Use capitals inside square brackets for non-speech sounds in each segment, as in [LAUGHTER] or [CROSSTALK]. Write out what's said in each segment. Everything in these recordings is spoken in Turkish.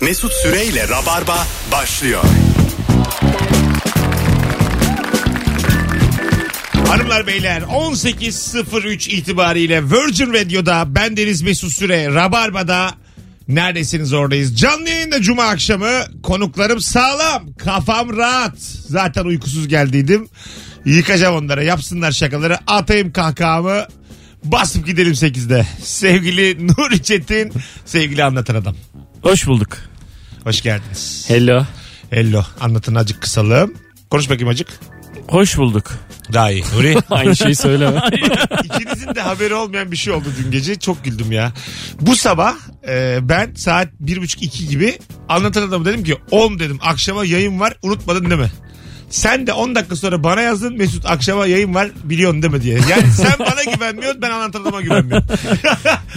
Mesut Süreyle Rabarba başlıyor. Hanımlar beyler 18.03 itibariyle Virgin Radio'da ben Deniz Mesut Süre Rabarba'da neredesiniz oradayız. Canlı yayında cuma akşamı konuklarım sağlam kafam rahat zaten uykusuz geldiydim yıkacağım onlara yapsınlar şakaları atayım kahkahamı basıp gidelim 8'de. Sevgili Nuri Çetin sevgili anlatan adam Hoş bulduk. hoş geldiniz. Hello. Hello anlatın acık kısalım konuş bakayım acık. Hoş bulduk. Daha iyi Nuri. [LAUGHS] Aynı [LAUGHS] şeyi söyleme. İkinizin de haberi olmayan bir şey oldu dün gece. Çok güldüm ya. Bu sabah e, ben saat 1.30-2 gibi anlatan adamı dedim ki 10 dedim akşama yayın var unutmadın değil mi? Sen de 10 dakika sonra bana yazdın Mesut akşama yayın var biliyorsun değil mi diye. Yani sen bana güvenmiyorsun ben anlatan adama güvenmiyorum.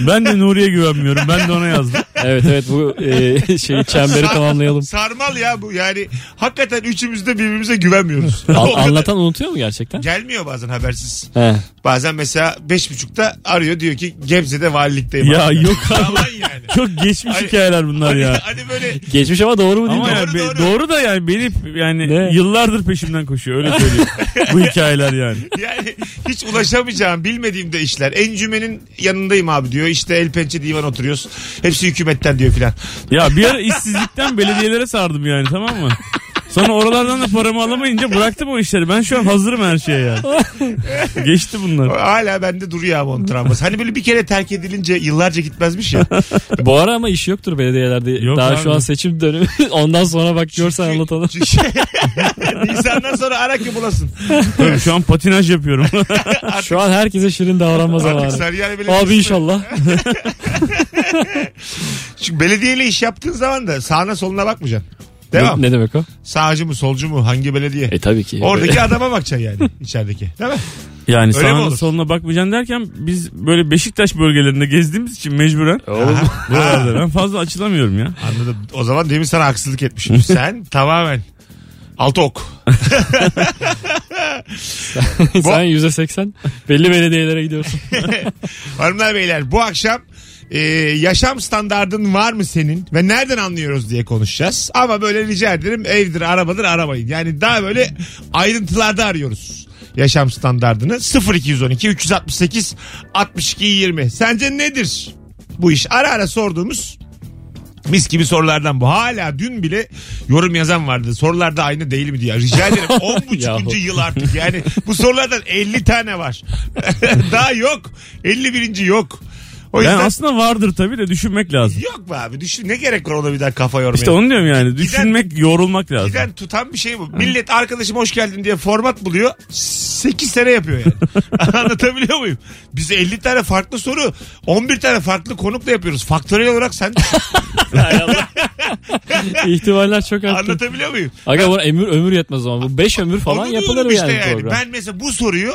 ben de Nuri'ye güvenmiyorum. Ben de ona yazdım. evet evet bu e, şeyi çemberi Sar- [LAUGHS] tamamlayalım. Sarmal ya bu yani hakikaten üçümüz de birbirimize güvenmiyoruz. [LAUGHS] O An- kadar- anlatan unutuyor mu gerçekten? Gelmiyor bazen habersiz. He. Bazen mesela 5.30'da arıyor diyor ki Gebze'de valilikteyim. Ya abi. yok abi. Yalan yani. Çok geçmiş Hani- hikayeler bunlar Hani, [LAUGHS] ya. hani böyle [LAUGHS] Geçmiş ama doğru mu değil Ama mi? yani Doğru, doğru. be- doğru, da yani beni yani Ne? yıllardır peşimden koşuyor öyle [LAUGHS] söyleyeyim. Bu hikayeler yani. Yani hiç ulaşamayacağım bilmediğim de işler. Encümenin yanındayım abi diyor. İşte el pençe divan oturuyoruz. Hepsi hükümetten diyor filan. Ya bir ara işsizlikten belediyelere sardım yani tamam mı? Sonra oralardan da paramı alamayınca bıraktım o işleri. Ben şu an hazırım her şeye yani. [LAUGHS] Geçti bunlar. Hala bende duruyor abi onun travması. Hani böyle bir kere terk edilince yıllarca gitmezmiş [LAUGHS] ya. Bu ara ama iş yoktur belediyelerde. Yok Daha abi. şu an seçim dönemi. [LAUGHS] Ondan sonra bak görsen anlatalım. Çünkü [LAUGHS] Nisan'dan sonra ara ki bulasın. Tabii şu an patinaj [LAUGHS] yapıyorum. Şu an herkese şirin davranma Artık zamanı. Sarıyer Belediyesi. Abi inşallah. Çünkü belediyeyle iş yaptığın zaman da sağına soluna bakmayacaksın. ne, Devam. ne demek o? Sağcı mı solcu mu hangi belediye? E [LAUGHS] tabii ki. Oradaki adama bakacaksın yani içerideki. Değil mi? Yani Öyle mi sağına olur? soluna bakmayacaksın derken biz böyle Beşiktaş bölgelerinde gezdiğimiz için mecburen Oğlum. buralarda ben fazla açılamıyorum [LAUGHS] ya. Anladım. O zaman demin sana haksızlık etmişim. Sen tamamen altı ok. Sen yüzde seksen belli belediyelere gidiyorsun. Hanımlar beyler bu akşam e, yaşam standardın var mı senin ve nereden anlıyoruz diye konuşacağız. Ama böyle rica ederim evdir arabadır aramayın. Yani daha böyle ayrıntılarda arıyoruz yaşam standardını 0212 368 62 20 sence nedir bu iş ara ara sorduğumuz mis gibi sorulardan bu hala dün bile yorum yazan vardı sorular da aynı değil mi diye rica [LAUGHS] ederim 10.5. Yahu. yıl artık yani bu sorulardan 50 tane var [LAUGHS] daha yok 51. yok o Yani yüzden aslında vardır tabii de düşünmek lazım. yok be abi düşün ne gerek var ona bir daha kafa yormaya İşte onu diyorum yani. Düşünmek, yorulmak lazım. Giden tutan bir şey bu. Millet arkadaşım hoş geldin diye format buluyor. 8 sene yapıyor yani. [LAUGHS] Anlatabiliyor muyum? Biz 50 tane farklı soru, 11 tane farklı konukla yapıyoruz. Faktörel olarak sen [LAUGHS] İhtimaller çok arttı. anlatabiliyor muyum? Aga buna ömür ömür yetmez ama bu 5 ömür falan Onu diyorum yapılır yani, program. Ben mesela bu soruyu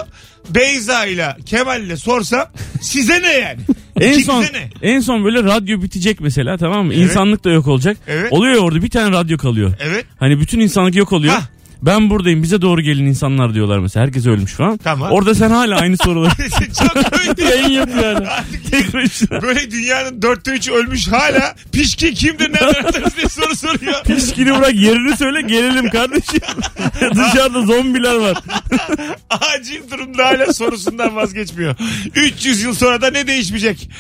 Beyza ile Kemal ile sorsam size ne yani? En İkinize son ne? en son böyle radyo bitecek mesela tamam mı? İnsanlık da yok olacak. Evet. Oluyor ya orada bir tane radyo kalıyor. Evet [LAUGHS] Hani bütün insanlık yok oluyor. Hah. Ben buradayım bize doğru gelin insanlar diyorlar mesela. Herkes ölmüş falan. Tamam. Orada sen [LAUGHS] hala aynı soruları çok büyük. Yayın yapıyor yani. tekrar işler. Böyle dünyanın dörtte üçü ölmüş hala pişkin kimdir nereden atarız diye soru soruyor. Pişkini bırak yerini söyle gelelim kardeşim. [LAUGHS] Dışarıda zombiler var. acil durumda hala sorusundan vazgeçmiyor. 300 yıl sonra da ne değişmeyecek?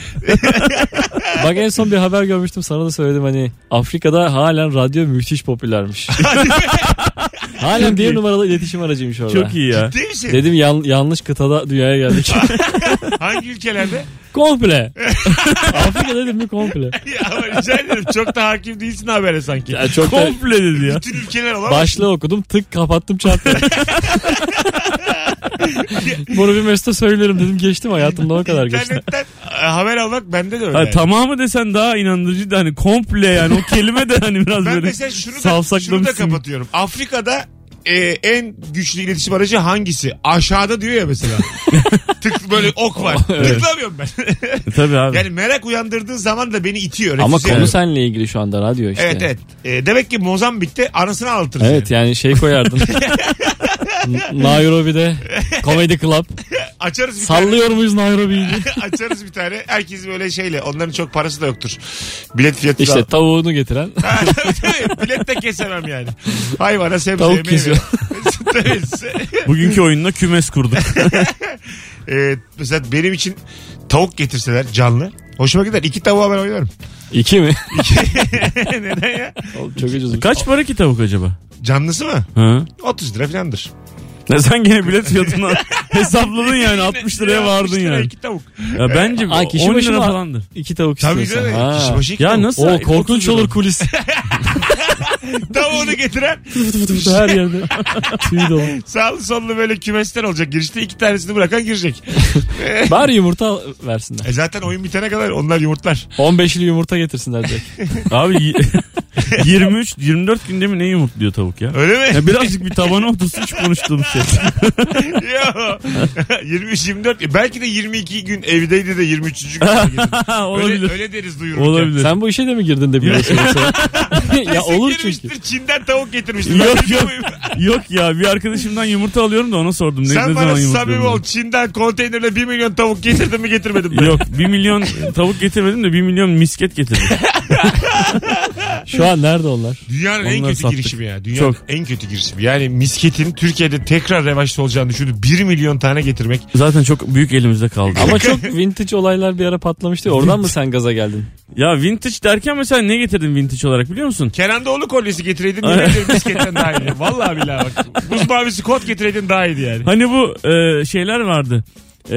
Bak en son bir haber görmüştüm sana da söyledim hani Afrika'da halen radyo müthiş popülermiş. [LAUGHS] halen bir numaralı iletişim aracıymış orada. Çok iyi ya. Değil misin? Dedim yan- yanlış kıtada [LAUGHS] dünyaya geldik. Hangi ülkelerde? komple. Afrika dedim mi komple. ya ama rica ederim çok da hakim değilsin habere sanki. Ya çok da Komple dedi ya. Bütün ülkeler olamaz. başlığı okudum tık [LAUGHS] kapattım çarptı. Bunu bir Mesut'a söylerim dedim geçtim hayatımda o kadar geçti. İnternetten e, haber almak bende de öyle. Ha, yani. tamamı desen daha inandırıcı da hani komple yani o kelime de hani [LAUGHS] biraz Ben böyle mesela şunu da, şunu da savsaklamışsın. kapatıyorum. Afrika'da e, en güçlü iletişim aracı hangisi? Aşağıda diyor ya [LAUGHS] mesela. Tık böyle ok var. Tıklamıyorum ben. E, Tabii abi. yani merak uyandırdığı zaman da beni itiyor. Ama refüze konu ediyor. seninle ilgili şu anda radyo işte. Evet evet. E, demek ki Mozambik'te anasını anlatırız. yani. [LAUGHS] Evet yani şey koyardın. N- Nairobi'de Comedy Club. Açarız bir tane. Sallıyor muyuz Nairobi'yi? Açarız bir tane. [LAUGHS] Herkes böyle şeyle. Onların çok parası da yoktur. Bilet fiyatı İşte [LAUGHS] da. tavuğunu getiren. Bilet de kesemem yani. Hayvana sebze Tavuk yemeği ver. [LAUGHS] kesiyor. Tabii. Bugünkü oyunla [LAUGHS] kümes kurduk. Ee, mesela benim için tavuk getirseler canlı. Hoşuma gider. İki tavuğa ben oynarım. [LAUGHS] İki mi? Neden ya? Oğlum çok ucuz. Kaç para ki tavuk acaba? Canlısı mı? Ha? 30 lira filandır. Ne sen gene bilet [LAUGHS] fiyatını hesapladın yani 60 liraya vardın 60 lira yani. iki tavuk. Ya bence Aa, kişi 10 başı lira mı? falandır. İki tavuk Tabii istiyorsan. canım. Ha. Kişi başı iki Ya tavuk. nasıl? E, O korkunç [LAUGHS] olur kulis. Tavuğunu getiren Fıtı fıtı fıtı [LAUGHS] her yerde. [LAUGHS] Tüy dolu. sağlı sollu böyle kümesler olacak. Girişte iki tanesini bırakan girecek. Bari yumurta versinler. E zaten oyun bitene kadar onlar yumurtlar. 15'li yumurta getirsinler [LAUGHS] direkt. Abi y- [LAUGHS] 23 24 günde mi ne yumurtluyor tavuk ya? Öyle mi? ya birazcık bir tabana otursun şu konuştuğum [LAUGHS] şey. [LAUGHS] Yo. [LAUGHS] 23-24. E, Belki de 22 gün evdeydi de 23. [LAUGHS] gün. öyle, Olabilir. öyle deriz duyururken. Olabilir. Sen bu işe de mi girdin de biliyorsun. [LAUGHS] yoksa? ya Kesin olur girmiştir, çünkü. Çin'den tavuk getirmiştir. Yok, Ben yok. bilmiyorum. Yok ya bir arkadaşımdan yumurta alıyorum da ona sordum. Ne, ne Sen zaman bana yumurtluyor samimi bunu? ol. Çin'den konteynerle 1 milyon tavuk getirdin mi getirmedin mi? Yok 1 milyon tavuk getirmedim de 1 milyon misket getirdim. Şu an nerede onlar? Dünyanın en Onları kötü sattık. girişimi ya. Dünyanın Çok. en kötü girişimi. Yani misketin Türkiye'de tekrar revaçta olacağını düşündü. 1 milyon tane getirmek. Zaten çok büyük elimizde kaldı. Ama çok vintage olaylar bir ara patlamıştı. ya, Oradan mı sen gaza geldin? ya vintage derken mesela ne getirdin vintage olarak biliyor musun? Kenan Doğulu kolyesi getireydin yine de misketten daha iyiydi. Vallahi billahi bak. Buz mavisi kot getireydin daha iyiydi yani. Hani bu e, şeyler vardı. E,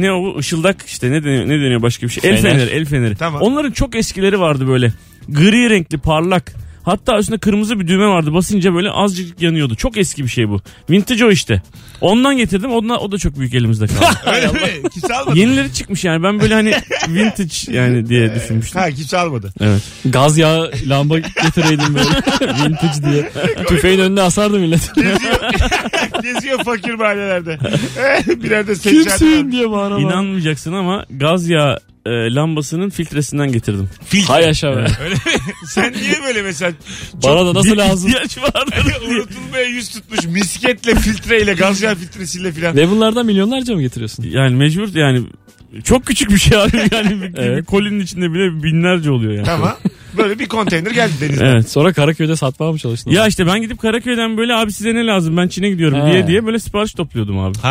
ne o ışıldak işte ne deniyor, ne deniyor başka bir şey. El Fener. feneri, el feneri. Tamam. Onların çok eskileri vardı böyle. Gri renkli, parlak. Hatta üstünde kırmızı bir düğme vardı. Basınca böyle azıcık yanıyordu. Çok eski bir şey bu. Vintage o işte. Ondan getirdim. Ondan, o da çok büyük [LAUGHS] elimizde kaldı. Öyle mi? Kimse almadı. Yenileri çıkmış yani. Ben böyle hani vintage yani diye düşünmüştüm. Ha kimse almadı. Gaz yağı lamba getireydim [LAUGHS] böyle. vintage diye. [LAUGHS] Tüfeğin önüne asardı millet. Geziyor fakir mahallelerde. [LAUGHS] Birer de seçer. Kimsin diye bağıra bağıra. İnanmayacaksın ama gaz yağı e, lambasının filtresinden getirdim. Hay aşağı be. Sen niye böyle mesela Bana da nasıl lazım? İhtiyaç vardır. unutulmaya yüz tutmuş misketle filtreyle gaz yağı filtresiyle filan. Ve bunlardan milyonlarca mı getiriyorsun? [LAUGHS] Yani mecbur yani çok küçük bir şey abi [LAUGHS] yani bir, Evet. bir kolinin içinde bile binlerce oluyor yani. Tamam. Böyle bir konteyner geldi denizden. Evet. Sonra Karaköy'de satmaya mı çalıştın? Ya işte ben gidip Karaköy'den böyle abi size ne lazım ben Çin'e gidiyorum He. diye diye böyle sipariş topluyordum abi. Ha,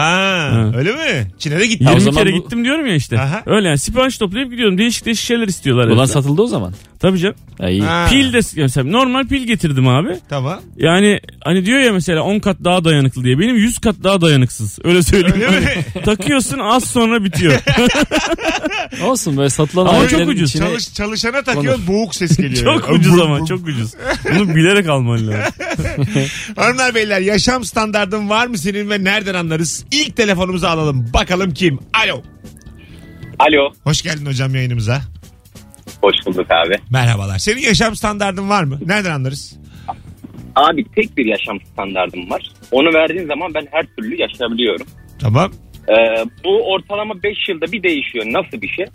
Ha. öyle mi? Çin'e de gitti. Ya o 20 zaman kere bu- gittim diyorum ya işte. Aha. Öyle yani sipariş toplayıp gidiyorum. Değişik değişik şeyler istiyorlar. Ulan herifler. satıldı o zaman. Tabii canım. Ya iyi. Ha, Pil de mesela normal pil getirdim abi. Tamam. Yani hani diyor ya mesela 10 kat daha dayanıklı diye. Benim 100 kat daha dayanıksız. Öyle söyleyeyim. Hani Öyle mi? Takıyorsun az sonra bitiyor. Olsun böyle satılan Ama aletlerin çok ucuz. içine- Çalış, çalışana takıyorsun boğuk [LAUGHS] ses geliyor. [LAUGHS] çok Yani. ucuz ama çok ucuz. Bunu bilerek alman lazım. Hanımlar beyler yaşam standardın var mı senin ve nereden anlarız? İlk telefonumuzu alalım. Bakalım kim? Alo. Alo. Hoş geldin hocam yayınımıza. Hoş bulduk abi. Merhabalar. Senin yaşam standardın var mı? Nereden anlarız? Abi tek bir yaşam standardım var. Onu verdiğin zaman ben her türlü yaşayabiliyorum. Tamam. Ee, bu ortalama 5 yılda bir değişiyor. Nasıl bir şey?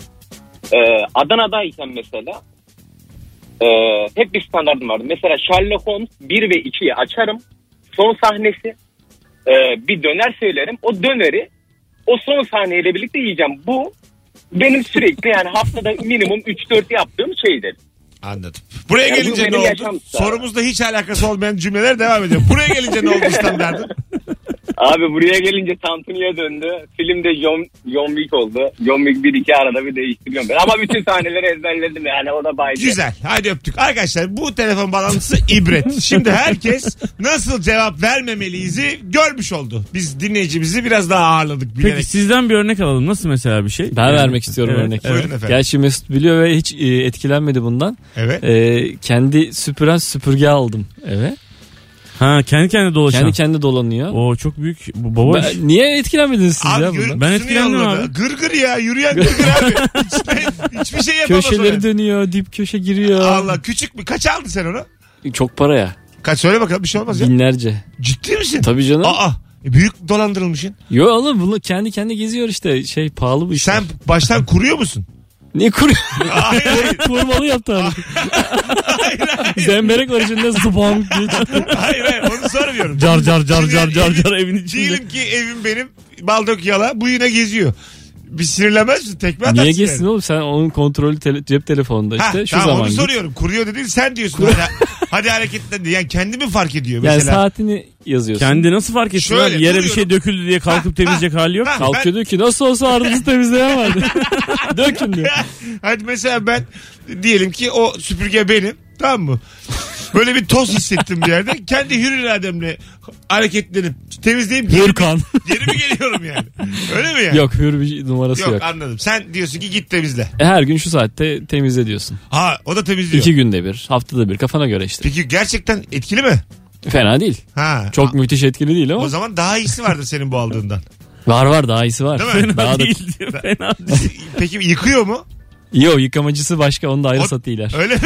Ee, Adana'dayken mesela e, hep bir standardım vardı. Mesela Sherlock Holmes 1 ve 2'yi açarım. Son sahnesi e, bir döner söylerim. O döneri o son sahneyle birlikte yiyeceğim. Bu benim sürekli yani haftada minimum 3-4 yaptığım şeydir. Anladım. Buraya Yani bu gelince benim ne oldu? yaşam standardım. Sorumuzda hiç alakası olmayan cümleler devam ediyor. Buraya gelince ne oldu standardın? Abi buraya gelince Tantuni'ye döndü. Filmde John, John Wick oldu. John Wick 1 2 arada bir değiştiriyorum ben. Ama bütün sahneleri ezberledim yani o da baydı. Güzel. Hadi öptük. Arkadaşlar bu telefon bağlantısı ibret. Şimdi herkes nasıl cevap vermemeliyiz'i görmüş oldu. Biz dinleyicimizi biraz daha ağırladık Peki bilerek. sizden bir örnek alalım. Nasıl mesela bir şey? Ben Yani- vermek istiyorum Evet, örnek. Buyurun efendim. Gerçi Mesut biliyor ve hiç e, etkilenmedi bundan. Evet. E, kendi süpüren süpürge aldım eve. Ha kendi kendine dolaşan. Kendi kendi dolanıyor. O çok büyük. Bu baba. Ben- niye etkilenmediniz siz Abi ya görüntüsünü bundan? Ben etkilendim yolladı. abi. Gır gır ya yürüyen gır gır abi. Hiçbir, hiçbir şey yapamaz o yani. Köşeleri dönüyor, dip köşe giriyor. Allah küçük mü? Kaç aldın sen onu? Çok para ya. Kaç söyle bakalım bir şey olmaz ya. Binlerce. Ciddi misin? Tabii canım. Aa e, büyük dolandırılmışsın. Yo oğlum bunu kendi kendi geziyor işte. Şey pahalı bu iş. Sen baştan kuruyor musun? Ne kuruyor? [LAUGHS] Hayır, hayır, Kurmalı yaptı abi. Zemberek var içinde zıbam diye. hayır, hayır, onu sormuyorum. Car car car car car Şimdi car evin içinde. Diyelim ki evim benim baldok yala bu yine geziyor. Bir sinirlenmez misin? Tekme atarsın. Niye yani. geçsin oğlum sen onun kontrolü tele- cep telefonunda Ha, işte şu tamam, zaman. onu git. soruyorum. Kuruyor dedin sen diyorsun. hadi, hadi hareketlen diye. Yani kendimi fark ediyor Yani mesela. saatini yazıyorsun. Kendi nasıl fark etsin Şöyle, abi? Yere bir duruyorum. şey döküldü diye kalkıp [LAUGHS] temizleyecek hali yok. Ha, Kalkıyor ben- diyor ki nasıl olsa [LAUGHS] ardınızı temizleyemedi. Dökün diyor. Hadi mesela ben diyelim ki o süpürge benim. Tamam mı? Böyle bir toz hissettim bir yerde. Kendi hür irademle hareketlenip temizleyip geri, Hürkan. geri mi geliyorum yani? Öyle mi yani? [LAUGHS] yok hür bir numarası Yok, yok. anladım. Sen diyorsun ki git temizle. E, Her gün şu saatte temizle diyorsun. Ha o da temizliyor. İki günde bir, haftada bir kafana göre işte. Peki gerçekten etkili mi? Fena değil. Ha. Çok müthiş etkili değil ama. O zaman daha iyisi vardır senin bu [LAUGHS] aldığından. Var var daha iyisi var. Değil mi? [LAUGHS] Fena Daha da... Değil diyor. Fena değil. Peki yıkıyor mu? Yo yıkamacısı başka onu da ayrı O- satıyorlar. Öyle mi?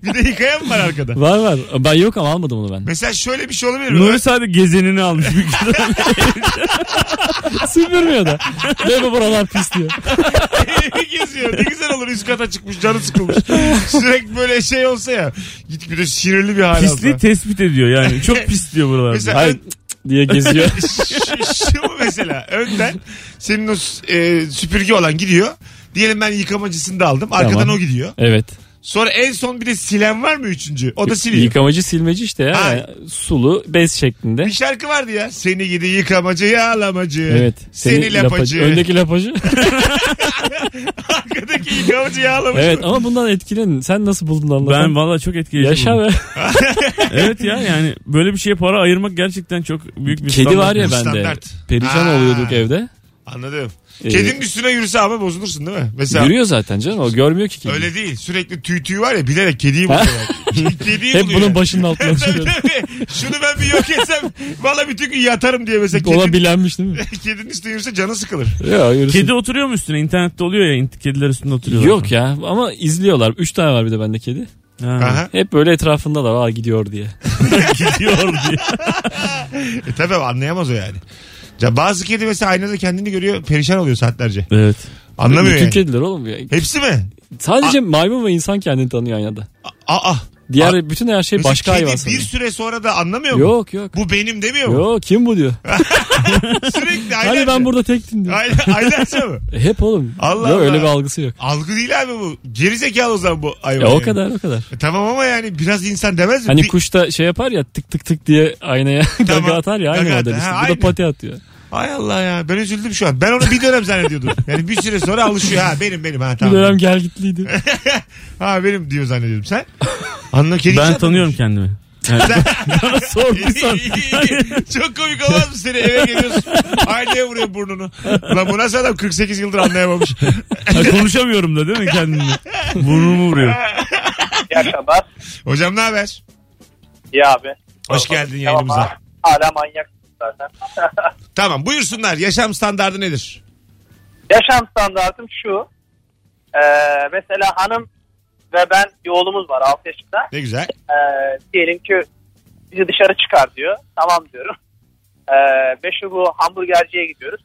[LAUGHS] bir de yıkayan mı var arkada? Var var. Ben yok ama [LAUGHS] almadım onu ben. Mesela şöyle bir şey olabilir mi? [LAUGHS] [LAUGHS] Nuri sadece gezenini almış. [LAUGHS] büyük ihtimalle. Süpürmüyor da. Bebe buralar pis diyor. Evi geziyor. Ne güzel olur üst kata çıkmış canı sıkılmış. Sürekli böyle şey olsa ya. Git bir de sinirli bir hal Pisliği alsa. tespit ediyor yani. Çok pis diyor buralarda. Mesela Hayır ön- [LAUGHS] diye geziyor. şu- şu mesela önden senin o s- e, süpürge olan gidiyor. Diyelim ben yıkamacısını da aldım. Arkadan Tamam. o gidiyor. Evet. Sonra en son bir de silen var mı üçüncü? O da siliyor. Yıkamacı silmeci işte ya. Ha. Yani sulu bez şeklinde. bir şey. şarkı vardı ya. Seni gidi yıkamacı yağlamacı. Evet. Seni, [LAUGHS] lapacı. Öndeki lapacı. Arkadaki yıkamacı yağlamacı. evet ama bundan etkilen. Sen nasıl buldun Ben anlatan? valla çok etkileyici. Yaşa buldum. be. Evet ya yani böyle bir şeye para ayırmak gerçekten çok büyük bir Kedi standart. var ya bende. Standart. Perişan Ha. oluyorduk evde. Anladım. Ee, Kedinin üstüne yürüse ama bozulursun değil mi? Mesela Yürüyor zaten canım o görmüyor ki. kedi. Öyle değil. Sürekli tüy tüy var ya bilerek kediyi buluyorlar. [LAUGHS] kediyi Hep buluyor. bunun başının altına [LAUGHS] Tabii, çıkıyor. tabii. Şunu ben bir yok etsem valla bütün gün yatarım diye mesela Ona kedinin, bilenmiş değil mi? [LAUGHS] kedinin üstüne yürüse canı sıkılır. Ya, yürüsün. Kedi oturuyor mu üstüne? İnternette oluyor ya int- kediler üstünde oturuyor. Yok ya ama izliyorlar. Üç tane var bir de bende kedi. Ha. Aha. Hep böyle etrafında da var gidiyor diye. Gidiyor diye. E tabii anlayamaz o yani. Ya bazı kedi mesela aynada kendini görüyor perişan oluyor saatlerce. Evet. Anlamıyor Bütün yani. kediler oğlum. ya. Hepsi mi? Sadece maymun ve insan kendini tanıyor aynada. Aa. Diğer bütün her şey Mesela başka kedi hayvan bir sanıyor. süre sonra da anlamıyor mu? Yok yok. Bu benim demiyor mu? Yok kim bu diyor. Sürekli aylarca. Hani ben burada tektim diyor. Ayla- Aylarca mı? E, Hep oğlum. Allah Yok, öyle Allah. bir algısı yok. Algı değil abi bu. Gerizekalı o zaman bu hayvan. Ya o yani. kadar o kadar. E tamam ama yani biraz insan demez mi? Hani Bir- kuş da şey yapar ya tık tık tık diye aynaya [LAUGHS] Tamam. gaga atar ya aynı Gaga model atar. işte. Ha, Bu aynı. da pati atıyor. Ay Allah ya ben üzüldüm şu an. Ben onu bir dönem zannediyordum. Yani bir süre sonra alışıyor. Ha benim benim ha Bir tamam. dönem [LAUGHS] gel gitliydi. Ha benim diyor zannediyordum. Sen? Anla kedi Ben tanıyorum kendimi. Bana sorduysan. [LAUGHS] Çok komik olmaz mı seni eve geliyorsun. Aynaya vuruyor burnunu. Lan bu nasıl adam 48 yıldır anlayamamış. Ha, konuşamıyorum da değil mi kendimi? Burnumu vuruyor. İyi akşamlar. Hocam ne haber? İyi abi. Hoş geldin yayınımıza. Tamam abi. Hala manyak zaten. Tamam buyursunlar. Yaşam standardı nedir? Yaşam standartım şu. Ee, mesela hanım ve ben bir oğlumuz var 6 yaşında. Ne güzel. Ee, diyelim ki bizi dışarı çıkar diyor. Tamam diyorum. Ee, meşhur bu hamburgerciye gidiyoruz.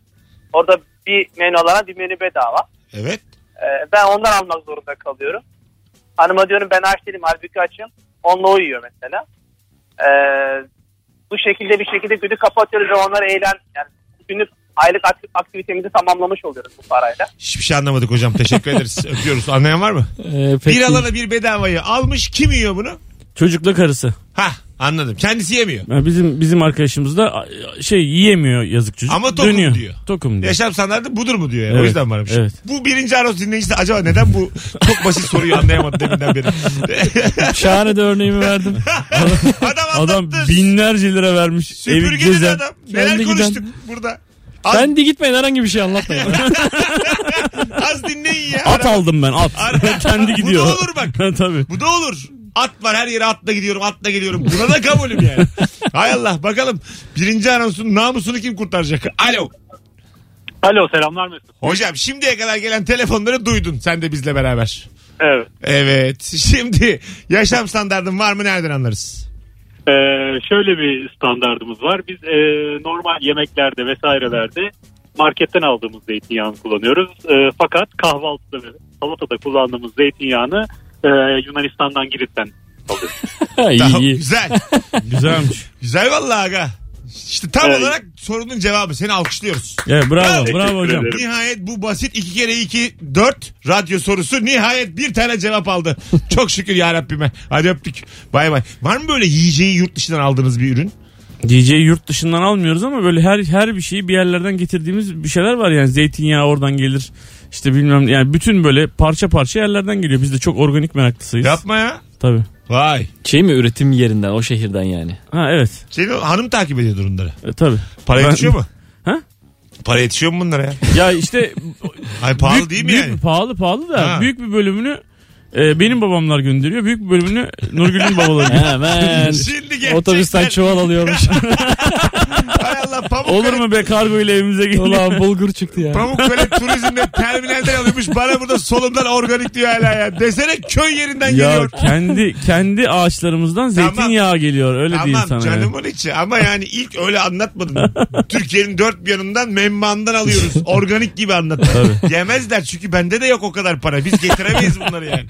Orada bir menü alana bir menü bedava. Evet. Ee, ben ondan almak zorunda kalıyorum. Hanıma diyorum ben aç değilim halbuki açım. Onunla uyuyor mesela. Ee, bu şekilde bir şekilde günü kapatıyoruz ve onları eğlen yani günlük aylık akti- aktivitemizi tamamlamış oluyoruz bu parayla. Hiçbir şey anlamadık hocam. Teşekkür [LAUGHS] ederiz. Öpüyoruz. Anlayan var mı? Ee, pek Bir değil. alana bir bedavayı almış. Kim yiyor bunu? Çocukla karısı. Ha anladım. Kendisi yemiyor. Ha, Bizim bizim arkadaşımız da a, şey yiyemiyor yazık çocuk. Ama tokum Dönüyor. diyor. Tokum diyor. Yaşam standartı budur mu diyor yani. O Evet, yüzden varmış. evet. Bu birinci Aros dinleyicisi de acaba neden bu çok basit soruyu anlayamadı deminden beri. [LAUGHS] Şahane de örneğimi verdim. adam anlattı. Adam binlerce lira vermiş. Evi Süpürgeli de gezen. adam. Neler Kendi konuştuk giden. burada. Az, Ben de gitmeyin herhangi bir şey anlatmayın. [LAUGHS] [LAUGHS] az dinleyin ya. At aldım ben at. [LAUGHS] Ara- Kendi gidiyor. Bu da olur bak. Ha, Tabii. Bu da olur. At var her yere atla gidiyorum atla geliyorum. Buna da kabulüm yani. Hay Allah bakalım birinci anonsun namusunu kim kurtaracak? Alo. Alo selamlar Mesut. Hocam şimdiye kadar gelen telefonları duydun sen de bizle beraber. Evet. Evet şimdi yaşam standardın var mı nereden anlarız? Ee, şöyle bir standardımız var. Biz e, normal yemeklerde vesairelerde marketten aldığımız zeytinyağını kullanıyoruz. E, fakat kahvaltıda ve salatada kullandığımız zeytinyağını e, Yunanistan'dan Girit'ten Ha, iyi Tamam, iyi. güzel. Güzelmiş. Güzel vallahi aga. İşte tam Evet. olarak sorunun cevabı. Seni alkışlıyoruz. Evet, bravo Teşekkür bravo hocam. ederim. Evet. Nihayet bu basit 2 kere 2 4 radyo sorusu nihayet bir tane cevap [LAUGHS] aldı. Çok şükür ya Rabbime. Hadi öptük. Bay bay. Var mı böyle yiyeceği yurt dışından aldığınız bir ürün? DJ'yi yurt dışından almıyoruz ama böyle her her bir şeyi bir yerlerden getirdiğimiz bir şeyler var yani zeytinyağı oradan gelir. İşte bilmem yani bütün böyle parça parça yerlerden geliyor. Biz de çok organik meraklısıyız. Yapma ya. Tabii. Vay. Şey mi üretim yerinden o şehirden yani. Ha evet. Seni hanım takip ediyordur bunları. E, tabii. Para Ben- yetişiyor mu? Ha? Para yetişiyor mu bunlara ya? Ya işte Ay pahalı büyük- değil mi büyük yani? bir- Pahalı pahalı da Ha. büyük bir bölümünü e, benim babamlar gönderiyor. Büyük bir bölümünü [LAUGHS] Nurgül'ün babaları gönderiyor. [LAUGHS] Hemen Şimdi gerçekten. [LAUGHS] otobüsten [LAUGHS] çuval alıyormuş. Hay Allah pamuk Olur mu be kargo ile evimize geliyor. Ulan bulgur çıktı ya. Pamukkale turizmde terminalden alıyormuş. Bana burada solumdan organik diyor hala ya. Desene köy yerinden Ya geliyor. kendi kendi ağaçlarımızdan Tamam. zeytinyağı geliyor. Öyle diyeyim Tamam sana. yani. canımın içi ama yani ilk öyle [LAUGHS] anlatmadın. Türkiye'nin dört bir yanından memmandan alıyoruz. Organik gibi anlattın. Yemezler çünkü bende de yok o kadar para. Biz getiremeyiz bunları yani.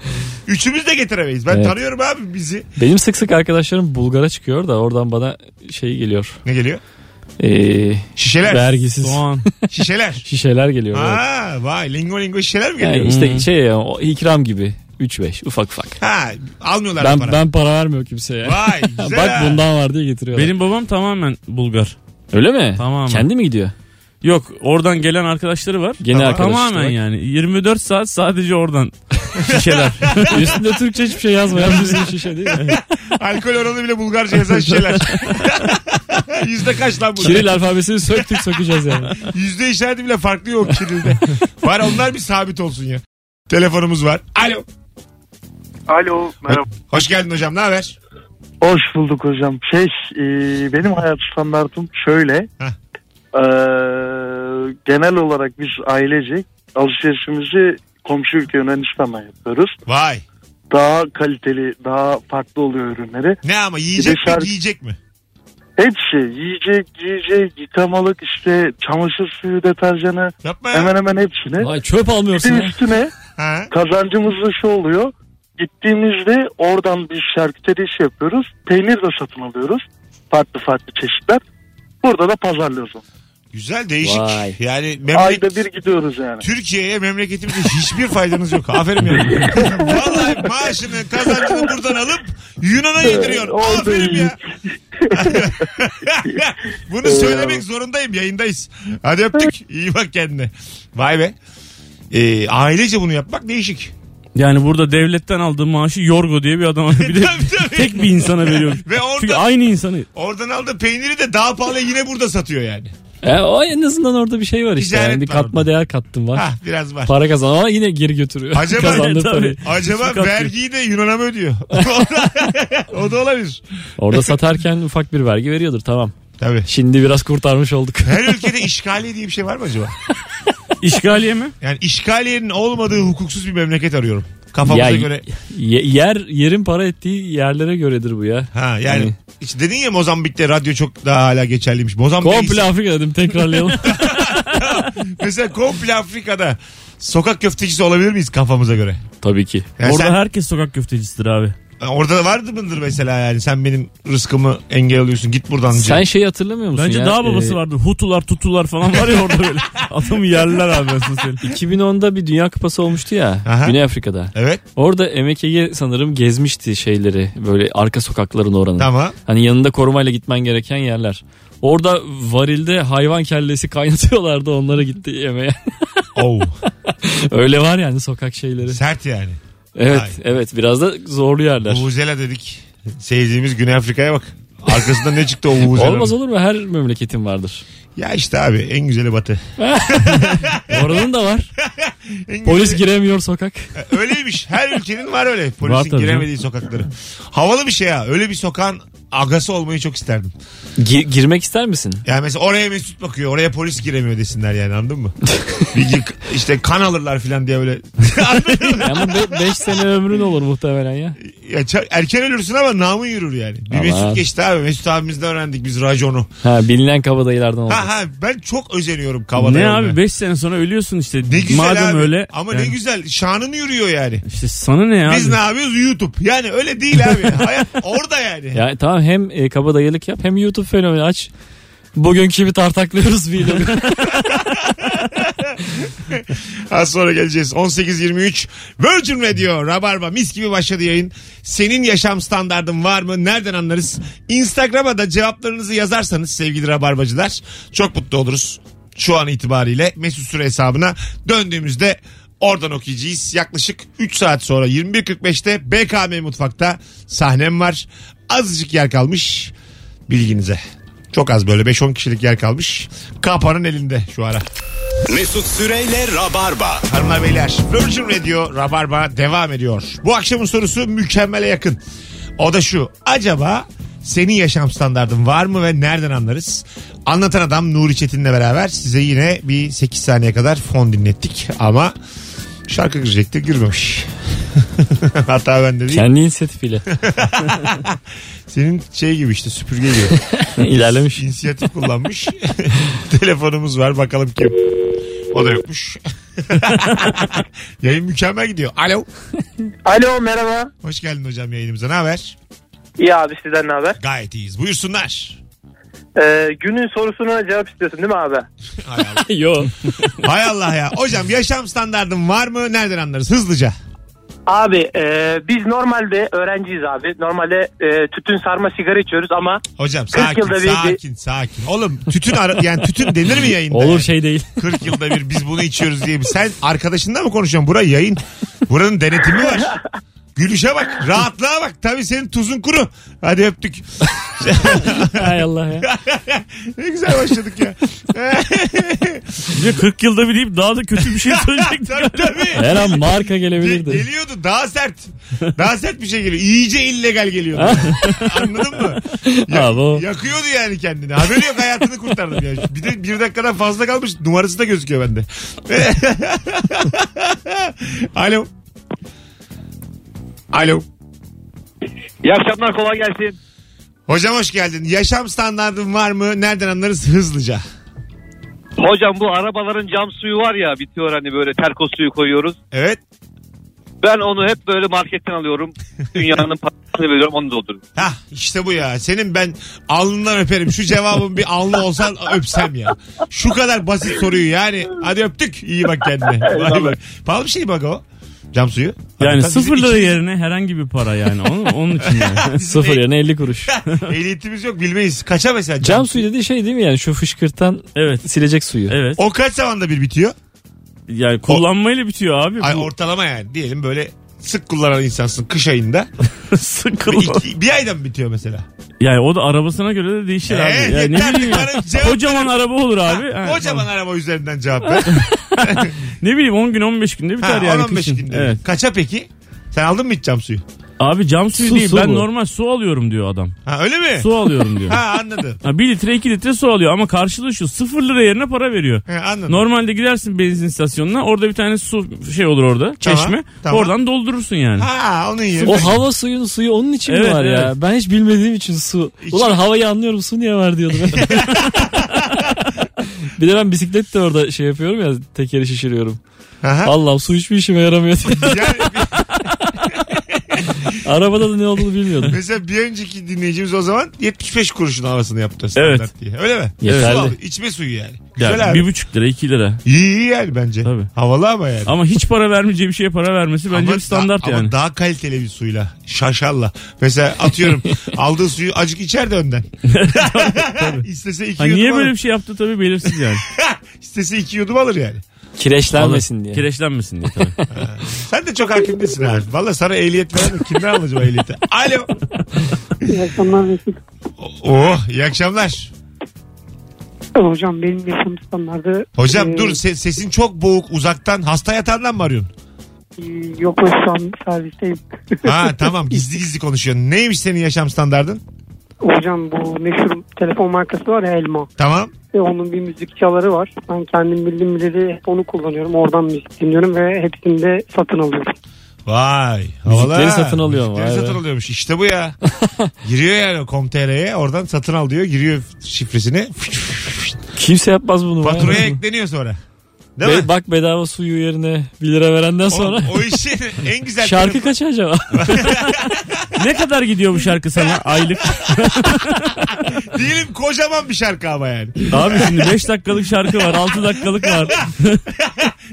Üçümüz de getiremeyiz. Ben Evet. tanıyorum abi bizi. Benim sık sık arkadaşlarım Bulgar'a çıkıyor da oradan bana şey geliyor. Ne geliyor? Ee, Şişeler. vergisiz Soğan. Şişeler. şişeler geliyor. evet. Aa, vay lingo lingo şişeler mi geliyor? Yani işte şey ya, o ikram gibi 3-5 ufak ufak. Ha, almıyorlar Ben para. ben para vermiyor kimseye. [LAUGHS] Vay güzel Bak ha. bundan var diye getiriyorlar. Benim babam tamamen Bulgar. Öyle mi? Tamamen. Kendi mi gidiyor? Yok oradan gelen arkadaşları var. Gene Tamam. arkadaş Tamamen olarak. yani 24 saat sadece oradan [LAUGHS] şişeler. [LAUGHS] Üstünde Türkçe hiçbir şey yazmayan bizim şişe değil mi? Alkol oranı bile Bulgarca yazan [LAUGHS] şişeler. [LAUGHS] Yüzde kaç lan burada? Kiril alfabesini söktük sökeceğiz yani. Yüzde işareti bile farklı yok Kiril'de. var onlar bir sabit olsun ya. Telefonumuz var. Alo. Alo merhaba. Hoş geldin hocam ne haber? Hoş bulduk hocam. Şey e, benim hayat standartım şöyle. Heh. E, genel olarak biz ailecek alışverişimizi komşu ülke Yunanistan'dan yapıyoruz. Vay. Daha kaliteli, daha farklı oluyor ürünleri. Ne ama yiyecek mi şarkı- giyecek mi? Hepsi yiyecek, yiyecek, yıkamalık işte çamaşır suyu deterjanı Yapma ya. hemen hemen hepsini. Ay çöp almıyorsun Bir de ya. üstüne Ha. kazancımız da şu oluyor. Gittiğimizde oradan bir şarküteri işi yapıyoruz. Peynir de satın alıyoruz. Farklı farklı çeşitler. Burada da pazarlıyoruz onu. Güzel değişik. Vay. Yani memleket... Ayda bir gidiyoruz yani. Türkiye'ye memleketimize hiçbir faydanız yok. Aferin ya. Vallahi maaşını kazancını buradan alıp Yunan'a yediriyor. Orada Aferin ya. [LAUGHS] Bunu söylemek zorundayım yayındayız. Hadi öptük. İyi bak kendine. Vay be. Ee, ailece bunu yapmak değişik. yani burada devletten aldığı maaşı Yorgo diye [LAUGHS] bir adama [LAUGHS] bir de Tabii, tabii. tek bir insana veriyor. Ve orada- Çünkü aynı insanı. Oradan aldığı peyniri de daha pahalı yine burada satıyor yani. E, o en azından orada bir şey var işte. Ticaret Yani bir var katma orada. değer kattım var. Hah biraz var. Para kazan ama yine geri götürüyor. [LAUGHS] Acaba- Kazandığı Tabii. parayı. Acaba Sokak vergiyi de Yunan'a mı ödüyor? [LAUGHS] o da [LAUGHS] olabilir. Orada satarken ufak bir vergi veriyordur tamam. Tabii. Şimdi biraz [LAUGHS] kurtarmış olduk. Her ülkede işgaliye diye bir şey var mı acaba? İşgaliye mi? Yani işgaliyenin olmadığı hukuksuz bir memleket arıyorum. Kafamıza Ya- göre. Ye- yer yerin para ettiği yerlere göredir bu ya. Ha yani Hani- işte dedin ya Mozambik'te radyo çok daha hala geçerliymiş. Mozambik'te Komple Afrika [LAUGHS] dedim tekrarlayalım. mesela komple Afrika'da sokak köftecisi olabilir miyiz kafamıza göre? Tabii ki. Yani Orada E sen- herkes sokak köftecisidir abi. orada da vardı mıdır mesela yani sen benim rızkımı engel alıyorsun git buradan. Sen şeyi hatırlamıyor musun Bence ya? daha babası Ee, vardı. Hutular tutular falan var ya [LAUGHS] orada böyle. Adamı yerler abi. ben sana söyleyeyim. 2010'da bir Dünya Kupası olmuştu ya Aha. Güney Afrika'da. Evet Orada MKG sanırım gezmişti şeyleri böyle arka sokakların oranı. tamam. Hani yanında korumayla gitmen gereken yerler. Orada varilde hayvan kellesi kaynatıyorlardı onlara gitti yemeğe. [LAUGHS] Oh. Öyle var yani sokak şeyleri. Sert [LAUGHS] yani. Evet Ay. evet biraz da zorlu yerler. Vuvuzela dedik. Sevdiğimiz Güney Afrika'ya bak. Arkasında ne çıktı o Vuvuzela'nın? Olmaz olur mu her memleketin vardır. Ya işte abi en güzeli batı. Oranın [LAUGHS] da var. En Polis güzeli- giremiyor sokak. Öyleymiş. Her ülkenin var öyle. Var Polisin tabii giremediği sokakları. Havalı bir şey ya. Öyle bir sokağın agası olmayı çok isterdim. Gi- girmek ister misin? Yani mesela oraya Mesut bakıyor. Oraya polis giremiyor desinler yani anladın [LAUGHS] mı? bir gir- işte kan alırlar falan diye böyle. Anladın mı? Ama 5 sene ömrün olur muhtemelen ya. Ya ça- erken ölürsün ama namın yürür yani. Bir Tamam. Mesut geçti abi. Mesut abimizden öğrendik biz raconu. Ha bilinen kabadayılardan olur. Ha ha ben çok özeniyorum kavada. Ne abi 5 sene sonra ölüyorsun işte. Ne güzel Madem abi. öyle. Ama ne yani güzel. Şanını yürüyor yani. İşte sana ne abi? Biz ne yapıyoruz? YouTube. Yani [LAUGHS] öyle değil abi. Hayat orada yani. Ya tamam hem e, kabadayılık yap hem YouTube fenomeni aç. Bugünkü gibi tartaklıyoruz bir ilanı. [LAUGHS] Az sonra geleceğiz. 18.23 Virgin Radio Rabarba mis gibi başladı yayın. Senin yaşam standardın var mı? Nereden anlarız? Instagram'a da cevaplarınızı yazarsanız sevgili Rabarbacılar çok mutlu oluruz. Şu an itibariyle Mesut Süre hesabına döndüğümüzde oradan okuyacağız. Yaklaşık 3 saat sonra 21.45'te BKM Mutfak'ta sahnem var. Azıcık yer kalmış bilginize. Çok az böyle 5-10 kişilik yer kalmış. Kapanın elinde şu ara. Mesut Süreyle Rabarba. Hanımlar beyler Virgin Radio Rabarba devam ediyor. Bu akşamın sorusu mükemmele yakın. O da şu. Acaba senin yaşam standardın var mı ve nereden anlarız? Anlatan adam Nuri Çetin'le beraber size yine bir 8 saniye kadar fon dinlettik ama şarkı girecekti girmemiş. [LAUGHS] Hatta ben de değil. Kendi inisiyatifiyle Senin şey gibi işte süpürge gibi. [LAUGHS] ilerlemiş. İnisiyatif kullanmış. [LAUGHS] Telefonumuz var bakalım kim. O da yokmuş. [LAUGHS] Yayın mükemmel gidiyor. Alo. Alo merhaba. Hoş geldin hocam yayınımıza. Ne haber? İyi abi sizden ne haber? Gayet iyiyiz. Buyursunlar. Ee, günün sorusuna cevap istiyorsun değil mi abi? Hay Allah. Yo. Hay Allah ya. Hocam yaşam standardın var mı? Nereden anlarız? Hızlıca. Abi e, biz normalde öğrenciyiz abi. Normalde e, tütün sarma sigara içiyoruz ama Hocam 40 sakin yılda bir- sakin sakin. Oğlum tütün ara- yani tütün denir mi yayında? Olur Yani? [LAUGHS] şey değil. 40 yılda bir biz bunu içiyoruz diye. bir- Sen arkadaşınla mı konuşuyorsun? Bura yayın. Buranın denetimi var. Gülüşe bak. Rahatlığa bak. Tabii senin tuzun kuru. Hadi öptük. [LAUGHS] Hay Allah ya. ne güzel başladık [LAUGHS] ya. [LAUGHS] Bir de 40 yılda bir deyip daha da kötü bir [LAUGHS] şey söyleyecektim. tabii tabii. Her an marka Ge- gelebilirdi. Geliyordu daha sert. Daha sert bir şey geliyor. İyice illegal geliyordu. Anladın mı? Ya- Ha, bu. yakıyordu yani kendini. Haberi yok hayatını kurtardım yani. Bir de bir dakikadan fazla kalmış. Numarası da gözüküyor bende. [LAUGHS] Alo. Alo. İyi akşamlar kolay gelsin. Hocam hoş geldin. Yaşam standardın var mı? Nereden anlarız hızlıca? Hocam bu arabaların cam suyu var ya bitiyor hani böyle terkos suyu koyuyoruz. Evet. Ben onu hep böyle marketten alıyorum. Dünyanın [LAUGHS] parasını veriyorum onu dolduruyorum. Hah işte bu ya. Senin ben alnından öperim. Şu cevabın bir alnı olsan öpsem ya. Şu kadar basit soruyu yani. Hadi öptük. İyi bak kendine. Bay bay. Pahalı bir şey bak o. Cam suyu. Yani Hakikaten sıfır bizim lira iki- yerine herhangi bir para yani. Onun, onun için yani. [LAUGHS] Sıfır yerine 50 kuruş. Ehliyetimiz yok bilmeyiz. Kaça mesela cam, Cam suyu? suyu dediği şey değil mi yani şu fışkırtan Evet. silecek suyu. Evet. O kaç zamanda bir bitiyor? Yani kullanmayla bitiyor abi. Ay Bu ortalama yani. Diyelim böyle sık kullanan insansın kış [LAUGHS] ayında. Bir, sıkılan- iki- bir ayda mı bitiyor mesela? Yani o da arabasına göre de değişir Ee, abi. Yani yeter ne bileyim artık ya. bana cevap Kocaman araba olur abi. Ha, Kocaman tamam. araba üzerinden cevap [LAUGHS] ver. Ne bileyim 10 gün 15 günde biter Ha, yani 15 kışın. günde. Evet. Kaça peki? Sen aldın mı hiç cam suyu? Abi cam suyu Su, değil su ben bu. normal su alıyorum diyor adam. Ha öyle mi? Su alıyorum diyor. Ha [LAUGHS] anladım. Ha, 1 litre 2 litre su alıyor ama karşılığı şu 0 lira yerine para veriyor. Ha, anladım. Normalde gidersin benzin istasyonuna orada bir tane su şey olur orada Tamam, çeşme tamam. oradan doldurursun yani. Ha onun yerine. [LAUGHS] O hava suyun suyu onun için mi Evet, var ya? evet. Ben hiç bilmediğim için su. İçin- Ulan havayı anlıyorum su niye var diyordum. bir de ben bisiklet de orada şey yapıyorum ya tekeri şişiriyorum. Aha. Allah'ım su hiçbir işime yaramıyor. Yani [LAUGHS] Arabada da ne olduğunu bilmiyordum. mesela bir önceki dinleyicimiz o zaman 75 kuruşun havasını yaptı standart Evet. diye. Öyle mi? Yeterli. Su aldı. İçme suyu yani. Güzel Yani abi. bir buçuk lira 2 lira. İyi iyi yani bence. Tabii. Havalı ama yani. Ama hiç para vermeyeceği bir şeye para vermesi bence Ama bir standart da- yani. Ama daha kaliteli bir suyla. Şaşalla. Mesela atıyorum [LAUGHS] aldığı suyu acık içer de önden. İstese iki Ha, yudum niye alır. böyle şey- bir şey yaptı tabii belirsiz yani. İstese iki yudum alır yani. Kireçlenmesin diye. Kireçlenmesin diye tabii. Sen de çok hakim değilsin abi. Valla sana ehliyet veren de kimden alacağım ehliyeti? Alo. İyi akşamlar Mesut. Oh iyi akşamlar. Hocam benim yaşam standardı... Hocam e, dur se- sesin çok boğuk uzaktan hasta yatağından mı arıyorsun? e, Yok ben şu an servisteyim. [LAUGHS] Ha tamam gizli gizli konuşuyorsun. Neymiş senin yaşam standardın? Hocam bu meşhur telefon markası var ya Elma. Tamam. Ve onun bir müzik çaları var. Ben kendim bildim bileli hep onu kullanıyorum. Oradan müzik dinliyorum ve hepsini de satın alıyorum. Vay. Müzikleri satın alıyor ama, Müzikleri vay satın be. alıyormuş. İşte bu ya. giriyor yani com.tr'ye oradan satın al diyor. Giriyor şifresini. Kimse yapmaz bunu. Faturaya Ya. ekleniyor sonra. Değil Be- mi? Bak bedava suyu yerine 1 lira verenden sonra Oğlum, o işin en güzel [LAUGHS] şarkı tarafı- [LAUGHS] kaç acaba? Ne kadar gidiyor bu şarkı sana aylık? Diyelim kocaman bir şarkı ama yani. Abi şimdi 5 dakikalık şarkı var 6 dakikalık var.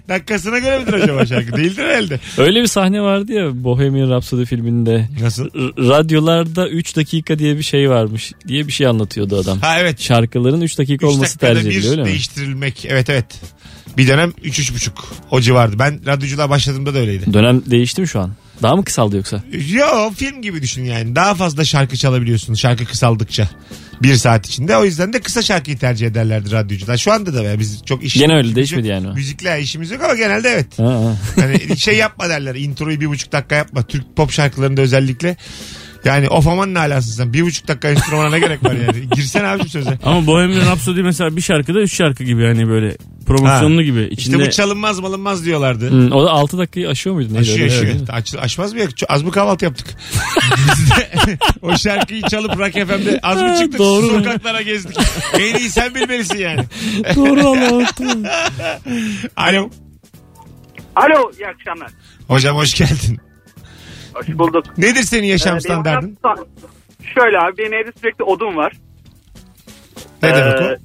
Dakikasına göre midir acaba [LAUGHS] şarkı? Değildir herhalde. Öyle bir sahne vardı ya Bohemian Rhapsody filminde. Nasıl? R- radyolarda 3 dakika diye bir şey varmış diye bir şey anlatıyordu adam. Ha evet. Şarkıların 3 dakika Üç olması dakikada tercih ediliyor öyle bir mi? değiştirilmek. Evet evet. Bir dönem 3-3,5 o civardı. Ben radyoculuğa başladığımda da öyleydi. Dönem değişti mi şu an? Daha mı kısaldı yoksa? Yo film gibi düşün yani. Daha fazla şarkı çalabiliyorsun şarkı kısaldıkça. Bir saat içinde. O yüzden de kısa şarkıyı tercih ederlerdi radyocular. Şu anda da ya biz çok iş... Gene öyle işimiz değişmedi yok. yani o. Müzikle işimiz yok ama genelde evet. Ha, ha. Hani şey yapma derler. Introyu bir buçuk dakika yapma. Türk pop şarkılarında özellikle. Yani of aman ne alasın sen. Bir buçuk dakika enstrümana ne gerek var yani. Girsen abicim söze. Ama Bohemian Rhapsody mesela bir şarkıda 3 şarkı gibi hani böyle promosyonlu gibi. İşte İçinde bu çalınmaz malınmaz diyorlardı. Hmm, o da 6 dakikayı aşıyor muydu? Neydi? Aşıyor Öyle aşıyor. değil mi? Aç, aşmaz mı ya? Çok- Az mı kahvaltı yaptık? [LAUGHS] Biz de o şarkıyı çalıp Rock FM'de az mı çıktık? Doğru. Sokaklara gezdik. en iyi sen bilmelisin yani. [LAUGHS] Doğru anlattın. Alo. Alo iyi akşamlar. Hocam hoş geldin. Hoş bulduk. Nedir senin yaşam Ee, benim standardın? hayat- Şöyle abi benim evde sürekli odun var. Ne demek Ee, o?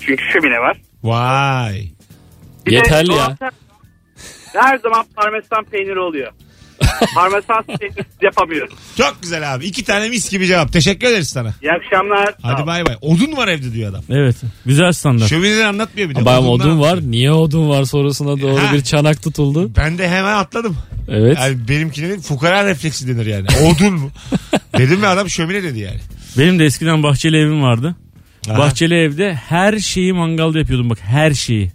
Çünkü şömine var. Vay. de Yeterli ya. dolapta Her zaman parmesan peyniri oluyor. parmesan [LAUGHS] peyniri yapamıyorum. Çok güzel abi. İki tane mis gibi cevap. Teşekkür ederiz sana. İyi akşamlar. Sağ Hadi ol. bay bay. Odun var evde diyor adam. evet güzel standart. Şömineden anlatmıyor bir de. Bayağı Odundan odun var. anlatıyor. Niye odun var sorusuna doğru Ha. bir çanak tutuldu. Ben de hemen atladım. Evet. Yani benimkine fukara refleksi denir yani. Odun [LAUGHS] mu? Dedim mi adam şömine dedi yani. Benim de eskiden bahçeli evim vardı. Aha. Bahçeli evde her şeyi mangalda yapıyordum bak her şeyi.